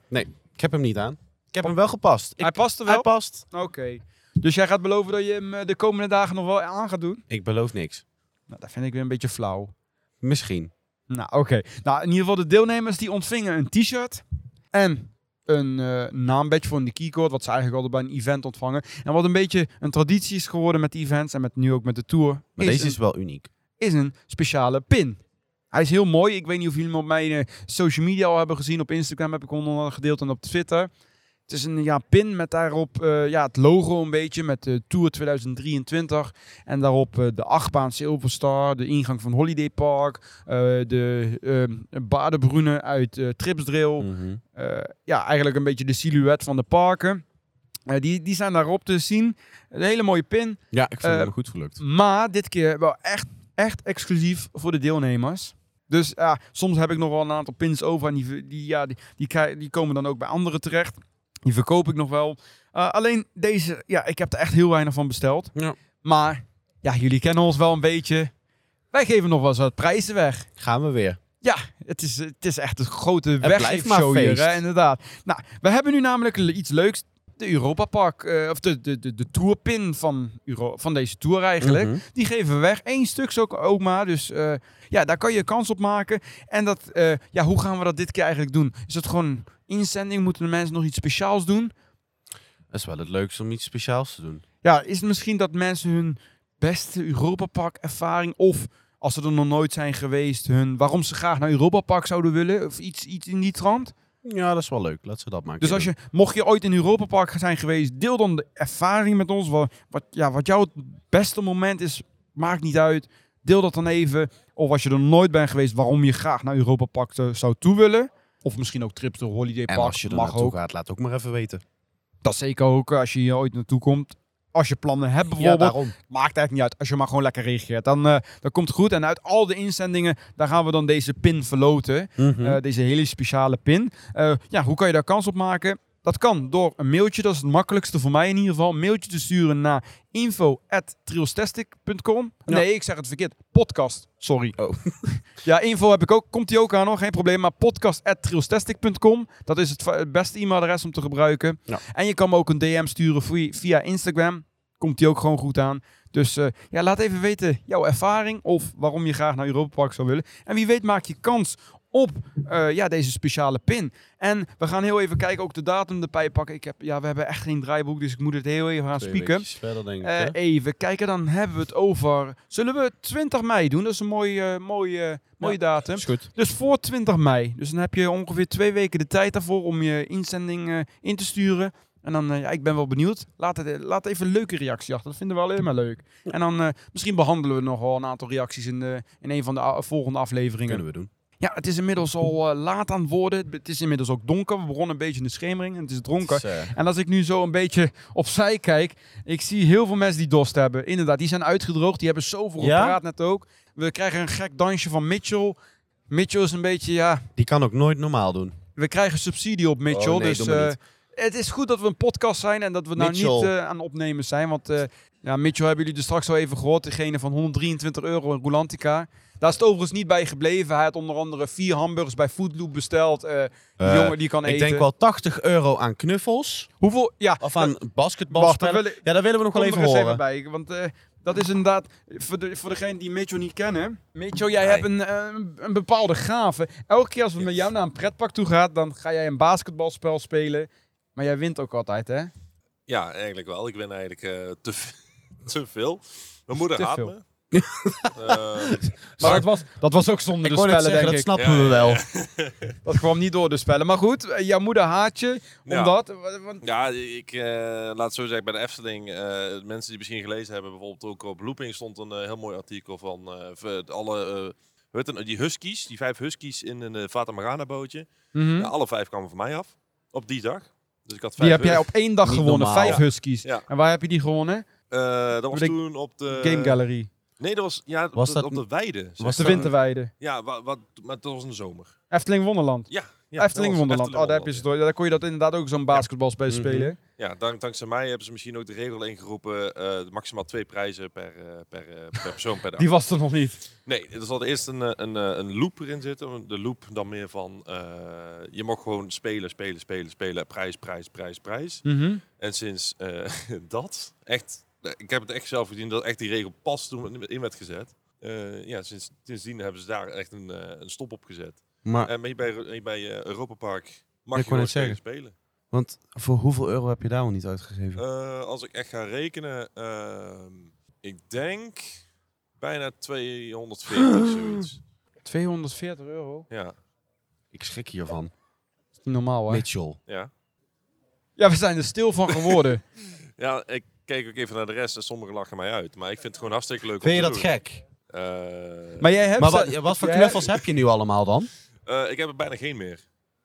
Speaker 2: Ik heb hem niet aan. Ik heb hem wel gepast. Ik,
Speaker 1: Hij past er
Speaker 2: hij
Speaker 1: wel?
Speaker 2: past.
Speaker 1: Oké. Dus jij gaat beloven dat je hem eh, de komende dagen nog wel aan gaat doen?
Speaker 2: Ik beloof niks.
Speaker 1: Nou, dat vind ik weer een beetje flauw.
Speaker 2: Misschien.
Speaker 1: Nou, oké. Nou, in ieder geval de deelnemers die ontvingen een t-shirt en een eh, naambadge voor in de keycode, wat ze eigenlijk altijd bij een event ontvangen. En wat een beetje een traditie is geworden met de events en met, nu ook met de tour,
Speaker 2: Maar
Speaker 1: is,
Speaker 2: deze
Speaker 1: een,
Speaker 2: is wel uniek.
Speaker 1: is een speciale pin. Hij is heel mooi. Ik weet niet of jullie hem op mijn eh, social media al hebben gezien. Op Instagram heb ik hem onder andere gedeeld en op Twitter. Het is een ja, pin met daarop eh, ja, het logo een beetje met de Tour 2023. En daarop eh, de achtbaan Silverstar, de ingang van Holiday Park, eh, de ehm Badenbrune uit eh Tripsdrill.
Speaker 2: Mhm.
Speaker 1: Eh, ja, eigenlijk een beetje de silhouet van de parken. Eh, die, die zijn daarop te zien. Een hele mooie pin.
Speaker 2: Ja, ik vind
Speaker 1: Eh,
Speaker 2: hem goed gelukt.
Speaker 1: Maar dit keer wel echt, echt exclusief voor de deelnemers. Dus ja, soms heb ik nog wel een aantal pins over. En die, ver- die, ja, die, die, krij- die komen dan ook bij anderen terecht. Die verkoop ik nog wel. Eh, alleen deze, ja, ik heb er echt heel weinig van besteld.
Speaker 2: Ja.
Speaker 1: Maar ja, jullie kennen ons wel een beetje. Wij geven nog wel eens wat prijzen weg.
Speaker 2: Gaan we weer.
Speaker 1: Het is, het is echt een grote
Speaker 2: blijft
Speaker 1: weggeefshow
Speaker 2: maar
Speaker 1: hier,
Speaker 2: feest.
Speaker 1: hè, inderdaad. Nou, we hebben nu namelijk l- iets leuks. De Europa Park, eh, of de, de, de, de tourpin van, Euro, van deze tour eigenlijk.
Speaker 2: Mhm.
Speaker 1: Die geven we weg. Eén stuk zo ook maar. Dus eh, ja, daar kan je kans op maken. En dat, eh, ja, hoe gaan we dat dit keer eigenlijk doen? Is dat gewoon inzending? Moeten de mensen nog iets speciaals doen?
Speaker 2: Dat is wel het leukste om iets speciaals te doen.
Speaker 1: Ja, is het misschien dat mensen hun beste Europa Park ervaring of als ze er nog nooit zijn geweest, hun waarom ze graag naar Europa Park zouden willen of iets, iets in die trant?
Speaker 2: Ja, dat is wel leuk. Laten we dat maken.
Speaker 1: Dus als je, mocht je ooit in Europa Park zijn geweest, deel dan de ervaring met ons. Wat, wat, ja, wat jouw beste moment is, maakt niet uit. Deel dat dan even. Of als je er nooit bent geweest, waarom je graag naar Europa Park eh, zou toe willen. Of misschien ook trips door Holiday
Speaker 2: En
Speaker 1: Park.
Speaker 2: als je er
Speaker 1: mag
Speaker 2: naartoe
Speaker 1: ook.
Speaker 2: gaat, laat ook maar even weten.
Speaker 1: Dat zeker ook eh, als je hier ooit naartoe komt. Als je plannen hebt bijvoorbeeld.
Speaker 2: daarom.
Speaker 1: Maakt eigenlijk niet uit. Als je maar gewoon lekker reageert. Dan, eh, dan komt het goed. En uit al de inzendingen, daar gaan we dan deze pin verloten.
Speaker 2: Mhm.
Speaker 1: Eh, deze hele speciale pin. Eh, ja, hoe kan je daar kans op maken? Dat kan door een mailtje, dat is het makkelijkste voor mij in ieder geval. Een mailtje te sturen naar info.triostastic.com. Nee, ik zeg het verkeerd. Podcast, sorry.
Speaker 2: Oh.
Speaker 1: ja, info heb ik ook. Komt die ook aan hoor, geen probleem. Maar podcast.triostastic.com. Dat is het, va- het beste e-mailadres om te gebruiken.
Speaker 2: Ja.
Speaker 1: En je kan me ook een DM sturen via- via Instagram. Komt die ook gewoon goed aan. Dus eh, ja, laat even weten jouw ervaring of waarom je graag naar Europa Park zou willen. En wie weet maak je kans op eh, ja, deze speciale pin. En we gaan heel even kijken, ook de datum erbij pakken. Ik heb, ja, we hebben echt geen draaiboek, dus ik moet het heel even gaan
Speaker 2: Twee
Speaker 1: spieken.
Speaker 2: weekjes verder, denk ik.
Speaker 1: Eh,
Speaker 2: hè?
Speaker 1: even kijken, dan hebben we het over... Zullen we 20 mei doen? Dat is een mooie, eh, mooie, eh, mooie datum.
Speaker 2: is goed.
Speaker 1: Dus voor 20 mei. Dus dan heb je ongeveer twee weken de tijd daarvoor om je inzending eh, in te sturen. En dan, eh, ja, ik ben wel benieuwd. Laat, het, eh, laat even een leuke reactie achter. Dat vinden we alleen maar leuk. En dan eh, misschien behandelen we nog wel een aantal reacties in, de, in een van de a- volgende afleveringen.
Speaker 2: Kunnen we doen.
Speaker 1: Ja, het is inmiddels al eh, laat aan het worden. Het is inmiddels ook donker. We begonnen een beetje in de schemering en het is dronken.
Speaker 2: Dus, eh,
Speaker 1: En als ik nu zo een beetje opzij kijk, ik zie heel veel mensen die dorst hebben. Inderdaad, die zijn uitgedroogd. Die hebben zoveel
Speaker 2: Ja?
Speaker 1: gepraat net ook. We krijgen een gek dansje van Mitchell. Mitchell is een beetje, ja,
Speaker 2: die kan ook nooit normaal doen.
Speaker 1: we krijgen subsidie op Mitchell.
Speaker 2: Oh, nee,
Speaker 1: dus
Speaker 2: doe maar
Speaker 1: eh,
Speaker 2: niet.
Speaker 1: het is goed dat we een podcast zijn en dat we nou
Speaker 2: Mitchell.
Speaker 1: niet eh, aan opnemen zijn. Want eh, ja, Mitchell hebben jullie dus straks al even gehoord. Degene van 123 euro in Rulantica. Daar is het overigens niet bij gebleven. Hij had onder andere vier hamburgers bij Foodloop besteld. Eh, die
Speaker 2: Eh,
Speaker 1: jongen die kan
Speaker 2: ik
Speaker 1: eten.
Speaker 2: denk wel 80 euro aan knuffels. Eh,
Speaker 1: Hoeveel? Ja,
Speaker 2: Of aan
Speaker 1: wacht,
Speaker 2: basketbalspellen.
Speaker 1: daar wil ik-
Speaker 2: Ja, dat willen we nog wel
Speaker 1: kom
Speaker 2: even
Speaker 1: er eens even
Speaker 2: horen.
Speaker 1: bij. Want eh, dat is inderdaad, voor, de, voor degene die Mitchell niet kennen. Mitchell, jij
Speaker 2: Nee.
Speaker 1: hebt een, eh, een- een bepaalde gave. Elke keer als we met jou naar een pretpark toe gaan, dan ga jij een basketbalspel spelen. Maar jij wint ook altijd, hè?
Speaker 5: Ja, eigenlijk wel. Ik ben eigenlijk eh, te, v- te veel. Mijn moeder
Speaker 1: Te
Speaker 5: haat
Speaker 1: veel.
Speaker 5: me. Eh,
Speaker 1: Maar dat was, dat was ook zonder
Speaker 2: Ik
Speaker 1: de
Speaker 2: wou net
Speaker 1: spellen,
Speaker 2: zeggen,
Speaker 1: denk
Speaker 2: dat
Speaker 1: ik.
Speaker 2: snappen
Speaker 5: Ja,
Speaker 2: we
Speaker 5: ja,
Speaker 2: wel.
Speaker 1: Dat kwam niet door de spellen. Maar goed, eh, jouw moeder haat je.
Speaker 5: Ja.
Speaker 1: Omdat... wa- want-
Speaker 5: Ja, ik eh, laat het zo zeggen, bij de Efteling, eh, mensen die misschien gelezen hebben, bijvoorbeeld ook op Looping stond een eh, heel mooi artikel van eh, v- alle, eh, hoe heet het, die huskies, die vijf huskies in een eh, Fata Morgana bootje.
Speaker 1: Mhm.
Speaker 5: Ja, alle vijf kwamen van mij af, op die dag. Dus ik had vijf
Speaker 1: Die heb jij
Speaker 5: hus-
Speaker 1: op één dag
Speaker 2: Niet
Speaker 1: gewonnen.
Speaker 2: normaal.
Speaker 1: Vijf
Speaker 5: Ja.
Speaker 1: huskies.
Speaker 5: Ja.
Speaker 1: En waar heb je die gewonnen?
Speaker 5: Eh, dat was
Speaker 1: de
Speaker 5: toen op de...
Speaker 1: Game Gallery.
Speaker 5: Nee, dat was, ja, op
Speaker 2: Was
Speaker 5: de-
Speaker 2: dat-
Speaker 5: op de weide. zeg
Speaker 1: Was de
Speaker 5: maar.
Speaker 1: Winterweide.
Speaker 5: Ja, wa- wat, maar dat was in de zomer.
Speaker 1: Efteling Wonderland.
Speaker 5: Ja, ja dat was
Speaker 1: Efteling Wonderland. Oh, daar, heb je ze
Speaker 5: ja.
Speaker 1: door. Daar kon je dat inderdaad ook zo'n basketbalspel
Speaker 2: Mhm.
Speaker 1: spelen.
Speaker 5: Ja, dank, dankzij mij hebben ze misschien ook de regel ingeroepen, eh, maximaal twee prijzen per, eh, per, eh, per persoon per dag.
Speaker 1: Die was er nog niet.
Speaker 5: Nee, er zal eerst een, eh, een, eh, een loop erin zitten. De loop dan meer van, eh, je mag gewoon spelen, spelen, spelen, spelen. Prijs, prijs, prijs, prijs.
Speaker 1: Mhm.
Speaker 5: En sinds eh, dat, echt, eh, ik heb het echt zelf gezien dat echt die regel pas toen in werd gezet. Eh, ja, sinds, sindsdien hebben ze daar echt een, eh, een stop op gezet.
Speaker 2: Maar,
Speaker 5: En maar hier bij, hier bij eh, Europa Park mag
Speaker 2: Ah. Ik
Speaker 5: je
Speaker 2: wou
Speaker 5: gewoon
Speaker 2: net
Speaker 5: spelen.
Speaker 2: zeggen.
Speaker 5: spelen.
Speaker 2: want voor hoeveel euro heb je daar al niet uitgegeven?
Speaker 5: Eh, als ik echt ga rekenen, ehm, ik denk bijna 240 zoiets.
Speaker 1: 240 euro.
Speaker 5: Ja,
Speaker 2: ik schrik hiervan.
Speaker 1: Dat is niet normaal, hè?
Speaker 2: Mitchell.
Speaker 5: ja.
Speaker 1: Ja, we zijn er stil van geworden.
Speaker 5: Ja, ik kijk ook even naar de rest en sommigen lachen mij uit. Maar ik vind het gewoon hartstikke leuk
Speaker 2: Vind je
Speaker 5: om te
Speaker 2: dat
Speaker 5: doen.
Speaker 2: gek?
Speaker 5: Eh,
Speaker 1: maar jij hebt...
Speaker 2: Maar wat, wat voor
Speaker 1: jij-
Speaker 2: knuffels heb je nu allemaal dan?
Speaker 5: eh, ik heb er bijna geen meer.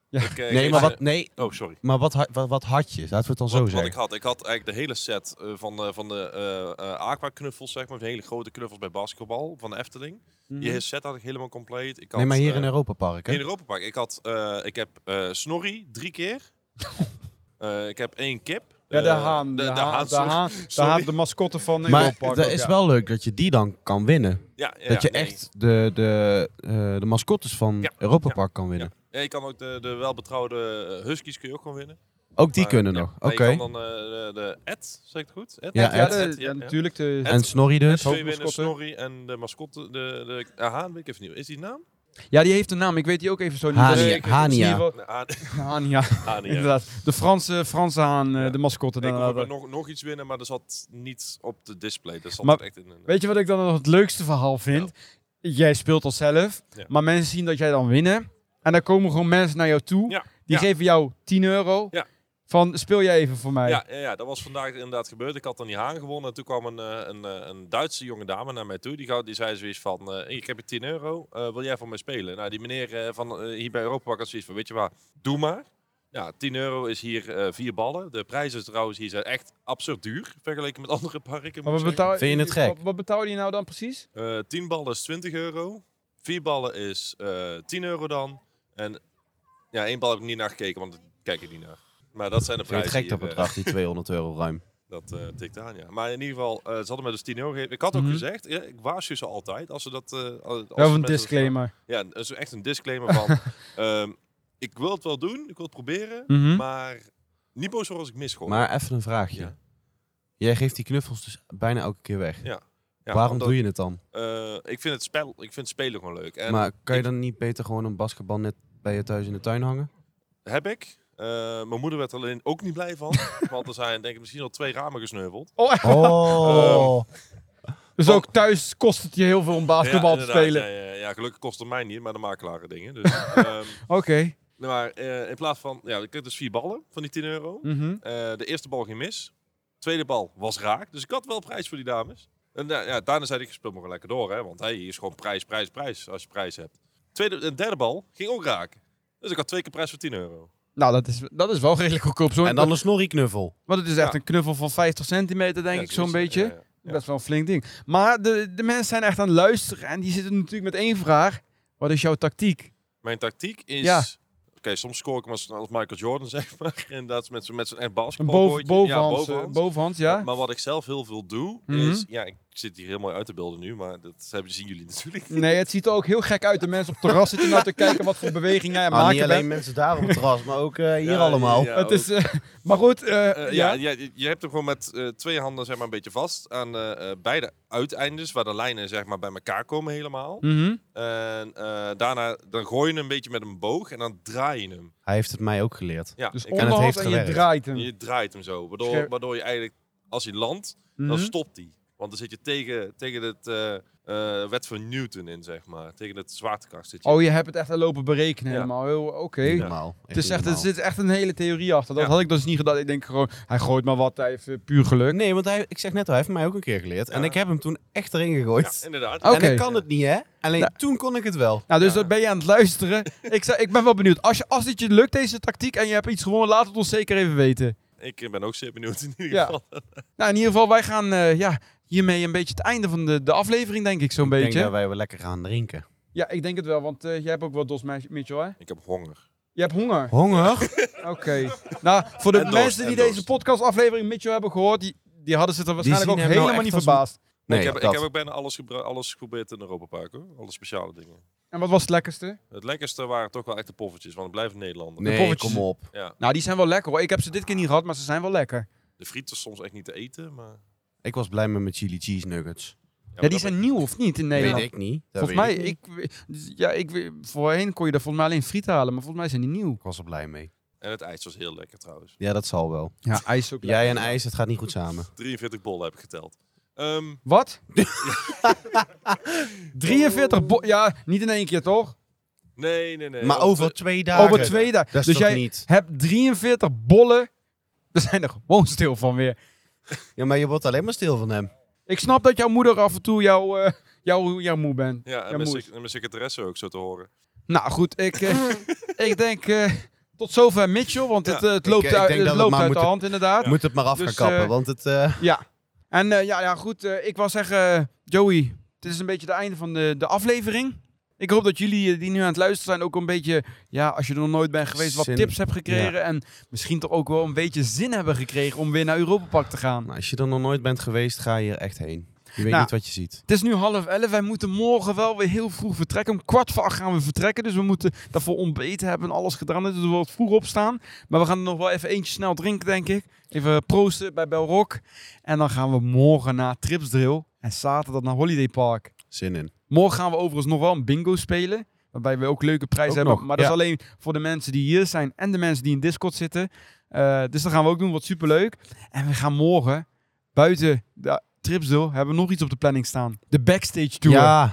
Speaker 1: Ja.
Speaker 5: Ik, eh,
Speaker 2: Nee,
Speaker 5: ik-
Speaker 2: maar wat, nee,
Speaker 5: Oh, sorry.
Speaker 2: maar wat, ha- wat, wat had je? Laten we het dan zo
Speaker 5: Wat, wat
Speaker 2: zeggen.
Speaker 5: ik had, ik had eigenlijk de hele set eh, van, eh, van de eh, eh, aqua-knuffels, zeg maar. De hele grote knuffels bij basketbal van de Efteling. Die hele set had ik helemaal compleet. Ik had,
Speaker 2: Mhm. nee, maar hier
Speaker 5: eh,
Speaker 2: in Europa Park, hè?
Speaker 5: in Europa Park. Ik, had, eh, ik heb eh Snorri drie keer. Eh, ik heb één kip.
Speaker 1: Ja, de
Speaker 5: Eh,
Speaker 1: haan. De, haan, de,
Speaker 5: sorry.
Speaker 1: haan, de,
Speaker 5: Sorry.
Speaker 1: haan, de mascotte van
Speaker 2: Maar
Speaker 1: Europa Park.
Speaker 2: dat
Speaker 1: ook,
Speaker 2: is
Speaker 1: ja.
Speaker 2: wel leuk dat je die dan kan winnen.
Speaker 5: Ja, ja,
Speaker 2: dat je
Speaker 5: nee.
Speaker 2: echt de, de, eh, de mascottes van
Speaker 5: Ja,
Speaker 2: Europa
Speaker 5: ja,
Speaker 2: Park kan winnen.
Speaker 5: Ja, je kan ook de, de welbetrouwde eh, Huskies kun je ook gewoon winnen.
Speaker 2: Ook die
Speaker 5: Maar,
Speaker 2: kunnen
Speaker 5: ja,
Speaker 2: nog.
Speaker 5: maar
Speaker 2: Oké.
Speaker 5: je kan dan eh, de, de Ed, zeg ik het goed? Ed?
Speaker 2: Ja,
Speaker 1: Ja,
Speaker 2: Ed.
Speaker 1: de-
Speaker 5: Ed,
Speaker 1: ja,
Speaker 5: ja.
Speaker 1: natuurlijk. De,
Speaker 5: Ed.
Speaker 2: En Snorri dus.
Speaker 5: Twee winnen,
Speaker 1: hoofdmascotte.
Speaker 5: Snorri en de mascotte, de, de eh, haan, weet ik even niet. Is die naam?
Speaker 1: Ja, die heeft een naam. Ik weet die ook even zo niet.
Speaker 2: Hania.
Speaker 1: Dus ik- ik-
Speaker 2: Hania.
Speaker 1: zie wel-
Speaker 5: Nee, haan,
Speaker 1: Hania,
Speaker 5: haan, ja.
Speaker 1: inderdaad. De Franse, Franse haan, eh,
Speaker 5: Ja.
Speaker 1: de mascotte.
Speaker 5: Ik
Speaker 1: inderdaad.
Speaker 5: wilde nog, nog iets winnen, maar dat zat niet op de display. Dat zat
Speaker 1: Maar-
Speaker 5: echt in een...
Speaker 1: Weet je wat ik dan nog het leukste verhaal vind? Jij speelt al zelf,
Speaker 5: Ja.
Speaker 1: maar mensen zien dat jij dan winnen. En dan komen gewoon mensen naar jou toe.
Speaker 5: Ja,
Speaker 1: Die
Speaker 5: ja.
Speaker 1: geven jou 10 euro.
Speaker 5: Ja.
Speaker 1: Van speel jij even voor mij.
Speaker 5: Ja, ja, ja, dat was vandaag inderdaad gebeurd. Ik had dan die haan gewonnen. En toen kwam een, eh, een, eh, een Duitse jonge dame naar mij toe. Die, gauw- die zei zoiets van, eh, "Hier, ik heb je 10 euro. Eh, wil jij voor mij spelen? Nou, die meneer eh, van, eh, hier bij Europa had zoiets van, weet je waar, doe maar. Ja, 10 euro is hier eh, vier ballen. De prijzen trouwens hier zijn echt absurd duur. Vergeleken met andere parken.
Speaker 1: Maar
Speaker 5: moet ik
Speaker 1: wat
Speaker 5: zeggen.
Speaker 1: betaal...
Speaker 2: Vind je het
Speaker 1: Wat,
Speaker 2: gek?
Speaker 1: wat betaalde je nou dan precies?
Speaker 5: Eh 10 ballen is 20 euro. 4 ballen is eh 10 euro dan. En ja, één bal heb ik niet naar gekeken, want daar kijk ik niet naar. Maar dat zijn de
Speaker 2: Vind je
Speaker 5: prijzen.
Speaker 2: het gek
Speaker 5: hier,
Speaker 2: dat
Speaker 5: eh,
Speaker 2: bedrag, die 200 euro ruim?
Speaker 5: Dat eh, tikt aan, ja. Maar in ieder geval, eh, ze hadden mij dus 10 euro gegeven. Ik had ook
Speaker 1: Mhm.
Speaker 5: gezegd, ja, ik waarschuw ze altijd als ze dat... eh, als ze
Speaker 1: Wel een
Speaker 5: mensen dat-
Speaker 1: disclaimer.
Speaker 5: ja, dat is echt een disclaimer van... ehm, ik wil het wel doen, ik wil het proberen,
Speaker 1: Mhm.
Speaker 5: maar niet boos worden als ik misgooi.
Speaker 2: Maar even een vraagje.
Speaker 5: Ja.
Speaker 2: Jij geeft die knuffels dus bijna elke keer weg.
Speaker 5: Ja,
Speaker 2: Waarom
Speaker 5: omdat,
Speaker 2: doe je het dan?
Speaker 5: eh, ik, vind het spel, ik vind het spelen gewoon leuk. En
Speaker 2: maar kan je
Speaker 5: ik-
Speaker 2: dan niet beter gewoon een basketbal net bij je thuis in de tuin hangen?
Speaker 5: heb ik. Eh, mijn moeder werd er alleen ook niet blij van. want er zijn denk ik misschien al twee ramen gesneuveld.
Speaker 1: Oh, echt?
Speaker 2: Oh,
Speaker 1: Dus ook thuis kost het je heel veel om basketbal te
Speaker 5: Ja, inderdaad,
Speaker 1: spelen.
Speaker 5: Ja, ja, ja, gelukkig kost het mij niet, maar de makelaren dingen. Dus, ehm,
Speaker 1: Oké.
Speaker 5: Nee, maar eh, in plaats van, ja, ik kreeg dus vier ballen van die 10 euro.
Speaker 1: Mhm.
Speaker 5: Eh, de eerste bal ging mis. tweede bal was raak. Dus ik had wel prijs voor die dames. En da- ja, daarna zei ik, speel maar gewoon lekker door, hè. Want hey, hier is gewoon prijs, prijs, prijs, als je prijs hebt. Tweede, en derde bal ging ook raak. Dus ik had twee keer prijs voor 10 euro.
Speaker 1: Nou, dat is, dat is wel redelijk goedkoop. Zo
Speaker 2: en dan een snorrieknuffel.
Speaker 1: Want het is echt
Speaker 5: Ja.
Speaker 1: een knuffel van 50 centimeter, denk
Speaker 5: Ja,
Speaker 1: ik, zo'n
Speaker 5: zoiets,
Speaker 1: beetje.
Speaker 5: ja, ja, ja.
Speaker 1: Dat is wel een flink ding. Maar de, de mensen zijn echt aan het luisteren. En die zitten natuurlijk met één vraag. Wat is jouw tactiek?
Speaker 5: Mijn tactiek is...
Speaker 1: Ja.
Speaker 5: Oké, soms scoor ik hem als, als Michael Jordan, zeg maar. En dat is met, zo'n- met zo'n echt
Speaker 1: Een
Speaker 5: basketbal.
Speaker 1: boven, bovenhands, eh,
Speaker 5: bovenhand.
Speaker 1: bovenhands, ja?
Speaker 5: Maar wat ik zelf heel veel doe,
Speaker 1: Mhm.
Speaker 5: is... Ja, ik zit hier helemaal uit te beelden nu, maar dat hebben, zien jullie natuurlijk
Speaker 1: Nee, het ziet er ook heel gek uit. De mensen op het terras zitten nou te kijken wat voor beweging jij aan het
Speaker 2: Maar Ah, niet
Speaker 1: maken
Speaker 2: alleen
Speaker 1: bent.
Speaker 2: mensen daar op het terras, maar ook eh, hier
Speaker 5: Ja,
Speaker 2: allemaal.
Speaker 5: ja,
Speaker 1: het is, eh, maar goed, eh,
Speaker 5: Eh, ja,
Speaker 1: ja.
Speaker 5: ja, je- je hebt hem gewoon met eh, twee handen zeg maar, een beetje vast aan eh, eh, beide uiteindes, waar de lijnen zeg maar, bij elkaar komen helemaal.
Speaker 1: Mhm.
Speaker 5: En eh, daarna dan gooi je hem een beetje met een boog en dan draai je hem.
Speaker 2: Hij heeft het mij ook geleerd.
Speaker 5: Ja,
Speaker 1: Dus
Speaker 5: en
Speaker 2: het
Speaker 1: onderhand
Speaker 2: heeft
Speaker 1: en je
Speaker 2: gewerkt.
Speaker 1: draait hem.
Speaker 5: je draait hem zo, waardoor,
Speaker 1: Scherp.
Speaker 5: waardoor je eigenlijk, als hij landt,
Speaker 1: Mhm.
Speaker 5: dan stopt hij. Want dan zit je tegen, tegen het eh, eh, wet van Newton in, zeg maar. Tegen het zwaartekracht zit je.
Speaker 1: Oh, je hebt het echt aan lopen berekenen
Speaker 5: Ja.
Speaker 1: helemaal. Heel- Oké.
Speaker 2: Niet normaal.
Speaker 1: Het is
Speaker 2: niet
Speaker 1: echt, er
Speaker 2: normaal.
Speaker 1: zit echt een hele theorie achter. Dat
Speaker 5: Ja.
Speaker 1: had ik dus niet gedaan. Ik denk gewoon, hij gooit maar wat. Hij heeft eh, puur geluk.
Speaker 2: Nee, want hij, ik zeg net al, hij heeft mij ook een keer geleerd. En
Speaker 5: Ja.
Speaker 2: ik heb hem toen echt erin
Speaker 5: Ja,
Speaker 2: gegooid.
Speaker 5: inderdaad.
Speaker 1: Oké.
Speaker 2: En ik kan het niet, hè? Alleen
Speaker 1: Nou.
Speaker 2: toen kon ik het wel.
Speaker 1: Nou, dus
Speaker 5: Ja.
Speaker 1: dat ben je aan het luisteren. ik, zou, ik ben wel benieuwd. Als, je, als dit je lukt, deze tactiek, en je hebt iets gewonnen, laat het ons zeker even weten.
Speaker 5: Ik ben ook zeer benieuwd in ieder
Speaker 1: Ja.
Speaker 5: geval.
Speaker 1: Nou, in ieder geval, wij gaan eh, ja, hiermee een beetje het einde van de, de aflevering, denk ik, zo'n
Speaker 2: Ik
Speaker 1: beetje.
Speaker 2: denk dat wij wel lekker gaan drinken.
Speaker 1: Ja, ik denk het wel, want eh, jij hebt ook wel dos, Mi- Mitchell, hè?
Speaker 5: Ik heb honger.
Speaker 1: Je hebt honger.
Speaker 2: Honger?
Speaker 1: Oké. Nou, voor de
Speaker 5: En dorst,
Speaker 1: mensen die
Speaker 5: en
Speaker 1: deze podcastaflevering Mitchell hebben gehoord, die, die hadden zich er waarschijnlijk
Speaker 2: zien
Speaker 1: ook
Speaker 2: hem nou
Speaker 1: helemaal
Speaker 2: echt
Speaker 1: niet
Speaker 2: als
Speaker 1: verbaasd.
Speaker 2: Nee,
Speaker 5: ik, heb, ik
Speaker 2: dat.
Speaker 5: heb ook bijna alles, gebru- alles geprobeerd in Europa Park, hoor. Alle speciale dingen.
Speaker 1: En wat was het lekkerste?
Speaker 5: Het lekkerste waren toch wel echt de poffertjes, want het blijven Nederlander.
Speaker 2: Nee,
Speaker 1: poffertjes.
Speaker 2: kom op.
Speaker 1: Nou, die zijn wel lekker hoor. Ik heb ze dit keer niet gehad, maar ze zijn wel lekker.
Speaker 5: De friet is soms echt niet te eten, maar...
Speaker 2: Ik was blij met mijn chili cheese nuggets.
Speaker 5: maar
Speaker 1: Ja,
Speaker 5: dat-
Speaker 1: die zijn nieuw of niet in Nederland?
Speaker 2: Weet ik niet. Dat
Speaker 1: Volgens
Speaker 2: weet
Speaker 1: mij,
Speaker 2: ik, niet.
Speaker 1: ik, ja, ik, we- voorheen kon je er volgens mij alleen friet halen, maar volgens mij zijn die nieuw.
Speaker 2: Ik was er blij mee.
Speaker 5: En het ijs was heel lekker trouwens.
Speaker 2: Ja, dat zal wel.
Speaker 1: Ja, ijs ook
Speaker 2: Jij en ijs, het gaat niet goed samen.
Speaker 5: 43 bollen heb ik geteld. Ehm,
Speaker 1: Wat? 43 bo- Ja, niet in één keer toch?
Speaker 5: nee, nee, nee.
Speaker 2: maar
Speaker 5: want,
Speaker 2: over
Speaker 5: eh,
Speaker 2: twee dagen.
Speaker 1: Over twee dagen.
Speaker 2: Dat is
Speaker 1: dus
Speaker 2: toch
Speaker 1: jij
Speaker 2: niet?
Speaker 1: hebt 43 bollen. We zijn er gewoon stil van weer.
Speaker 2: Ja, maar je wordt alleen maar stil van hem.
Speaker 1: Ik snap dat jouw moeder af en toe jou, eh, jou, jou moe bent.
Speaker 5: Ja, en
Speaker 1: Ja,
Speaker 5: mijn,
Speaker 1: moes.
Speaker 5: sec- en mijn secretaresse ook zo te horen.
Speaker 1: Nou goed, ik, eh, ik denk eh, tot zover Mitchell, want
Speaker 5: Ja,
Speaker 1: het, eh, het
Speaker 2: ik-
Speaker 1: loopt,
Speaker 2: ik
Speaker 1: uit,
Speaker 2: denk
Speaker 1: het
Speaker 2: dat we
Speaker 1: loopt
Speaker 2: maar
Speaker 1: uit de
Speaker 2: moeten-
Speaker 1: hand inderdaad.
Speaker 2: Moet het maar af gaan
Speaker 1: Dus,
Speaker 2: kappen,
Speaker 1: eh,
Speaker 2: want het... eh,
Speaker 1: Ja. En eh, ja, ja, goed. eh, ik wil zeggen, eh, Joey, dit is een beetje het einde van de, de aflevering. Ik hoop dat jullie eh, die nu aan het luisteren zijn ook een beetje, ja, als je er nog nooit bent geweest, wat
Speaker 2: Zin.
Speaker 1: tips hebt gekregen. En misschien toch ook wel een beetje zin hebben gekregen om weer naar Europa Park te gaan.
Speaker 2: nou, als je er nog nooit bent geweest, ga je er echt heen. Je weet
Speaker 1: Nou,
Speaker 2: niet wat je ziet.
Speaker 1: Het is nu half elf. Wij moeten morgen wel weer heel vroeg vertrekken. Om kwart voor acht gaan we vertrekken. Dus we moeten daarvoor ontbeten hebben en alles gedaan. Dus we wat vroeg opstaan. Maar we gaan er nog wel even eentje snel drinken, denk ik. Even proosten bij Belrock. En dan gaan we morgen naar Tripsdrill. En zaterdag naar Holiday Park.
Speaker 2: Zin in.
Speaker 1: Morgen gaan we overigens nog wel een bingo spelen. Waarbij we ook leuke prijzen
Speaker 2: Ook
Speaker 1: hebben.
Speaker 2: nog,
Speaker 1: maar dat
Speaker 2: ja.
Speaker 1: is alleen voor de mensen die hier zijn en de mensen die in Discord zitten. Eh, dus dat gaan we ook doen, wat superleuk. En we gaan morgen buiten de Tripsdeel hebben we nog iets op de planning staan. De backstage tour.
Speaker 2: Ja,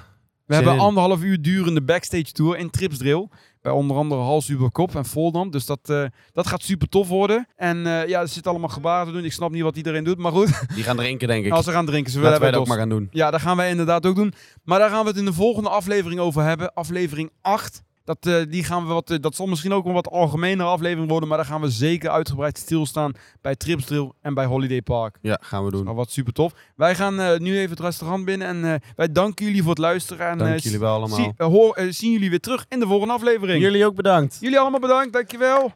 Speaker 1: We
Speaker 2: Zin
Speaker 1: hebben
Speaker 2: in.
Speaker 1: anderhalf uur durende backstage tour in Tripsdrill. Bij onder andere Hals, Uberkop en Voldam. Dus dat, eh, dat gaat super tof worden. En eh, ja, er zitten allemaal gebaren te doen. Ik snap niet wat iedereen doet. Maar goed,
Speaker 2: Die gaan drinken, denk ik.
Speaker 1: als ze gaan drinken, ze willen
Speaker 2: Laten wij dat
Speaker 1: hebben
Speaker 2: ook maar gaan doen.
Speaker 1: ja, dat gaan wij inderdaad ook doen. Maar daar gaan we het in de volgende aflevering over hebben. Aflevering 8. Dat, eh, die gaan we wat, eh, dat zal misschien ook een wat algemenere aflevering worden. Maar daar gaan we zeker uitgebreid stilstaan bij Tripsdrill en bij Holiday Park.
Speaker 2: Ja, gaan we doen.
Speaker 1: Maar wat super tof. Wij gaan eh, nu even het restaurant binnen. En eh, wij danken jullie voor het luisteren. En,
Speaker 2: Dank
Speaker 1: eh,
Speaker 2: jullie wel allemaal.
Speaker 1: Zie, eh, hoor, eh, zien jullie weer terug in de volgende aflevering.
Speaker 2: Jullie ook bedankt.
Speaker 1: Jullie allemaal bedankt. Dankjewel.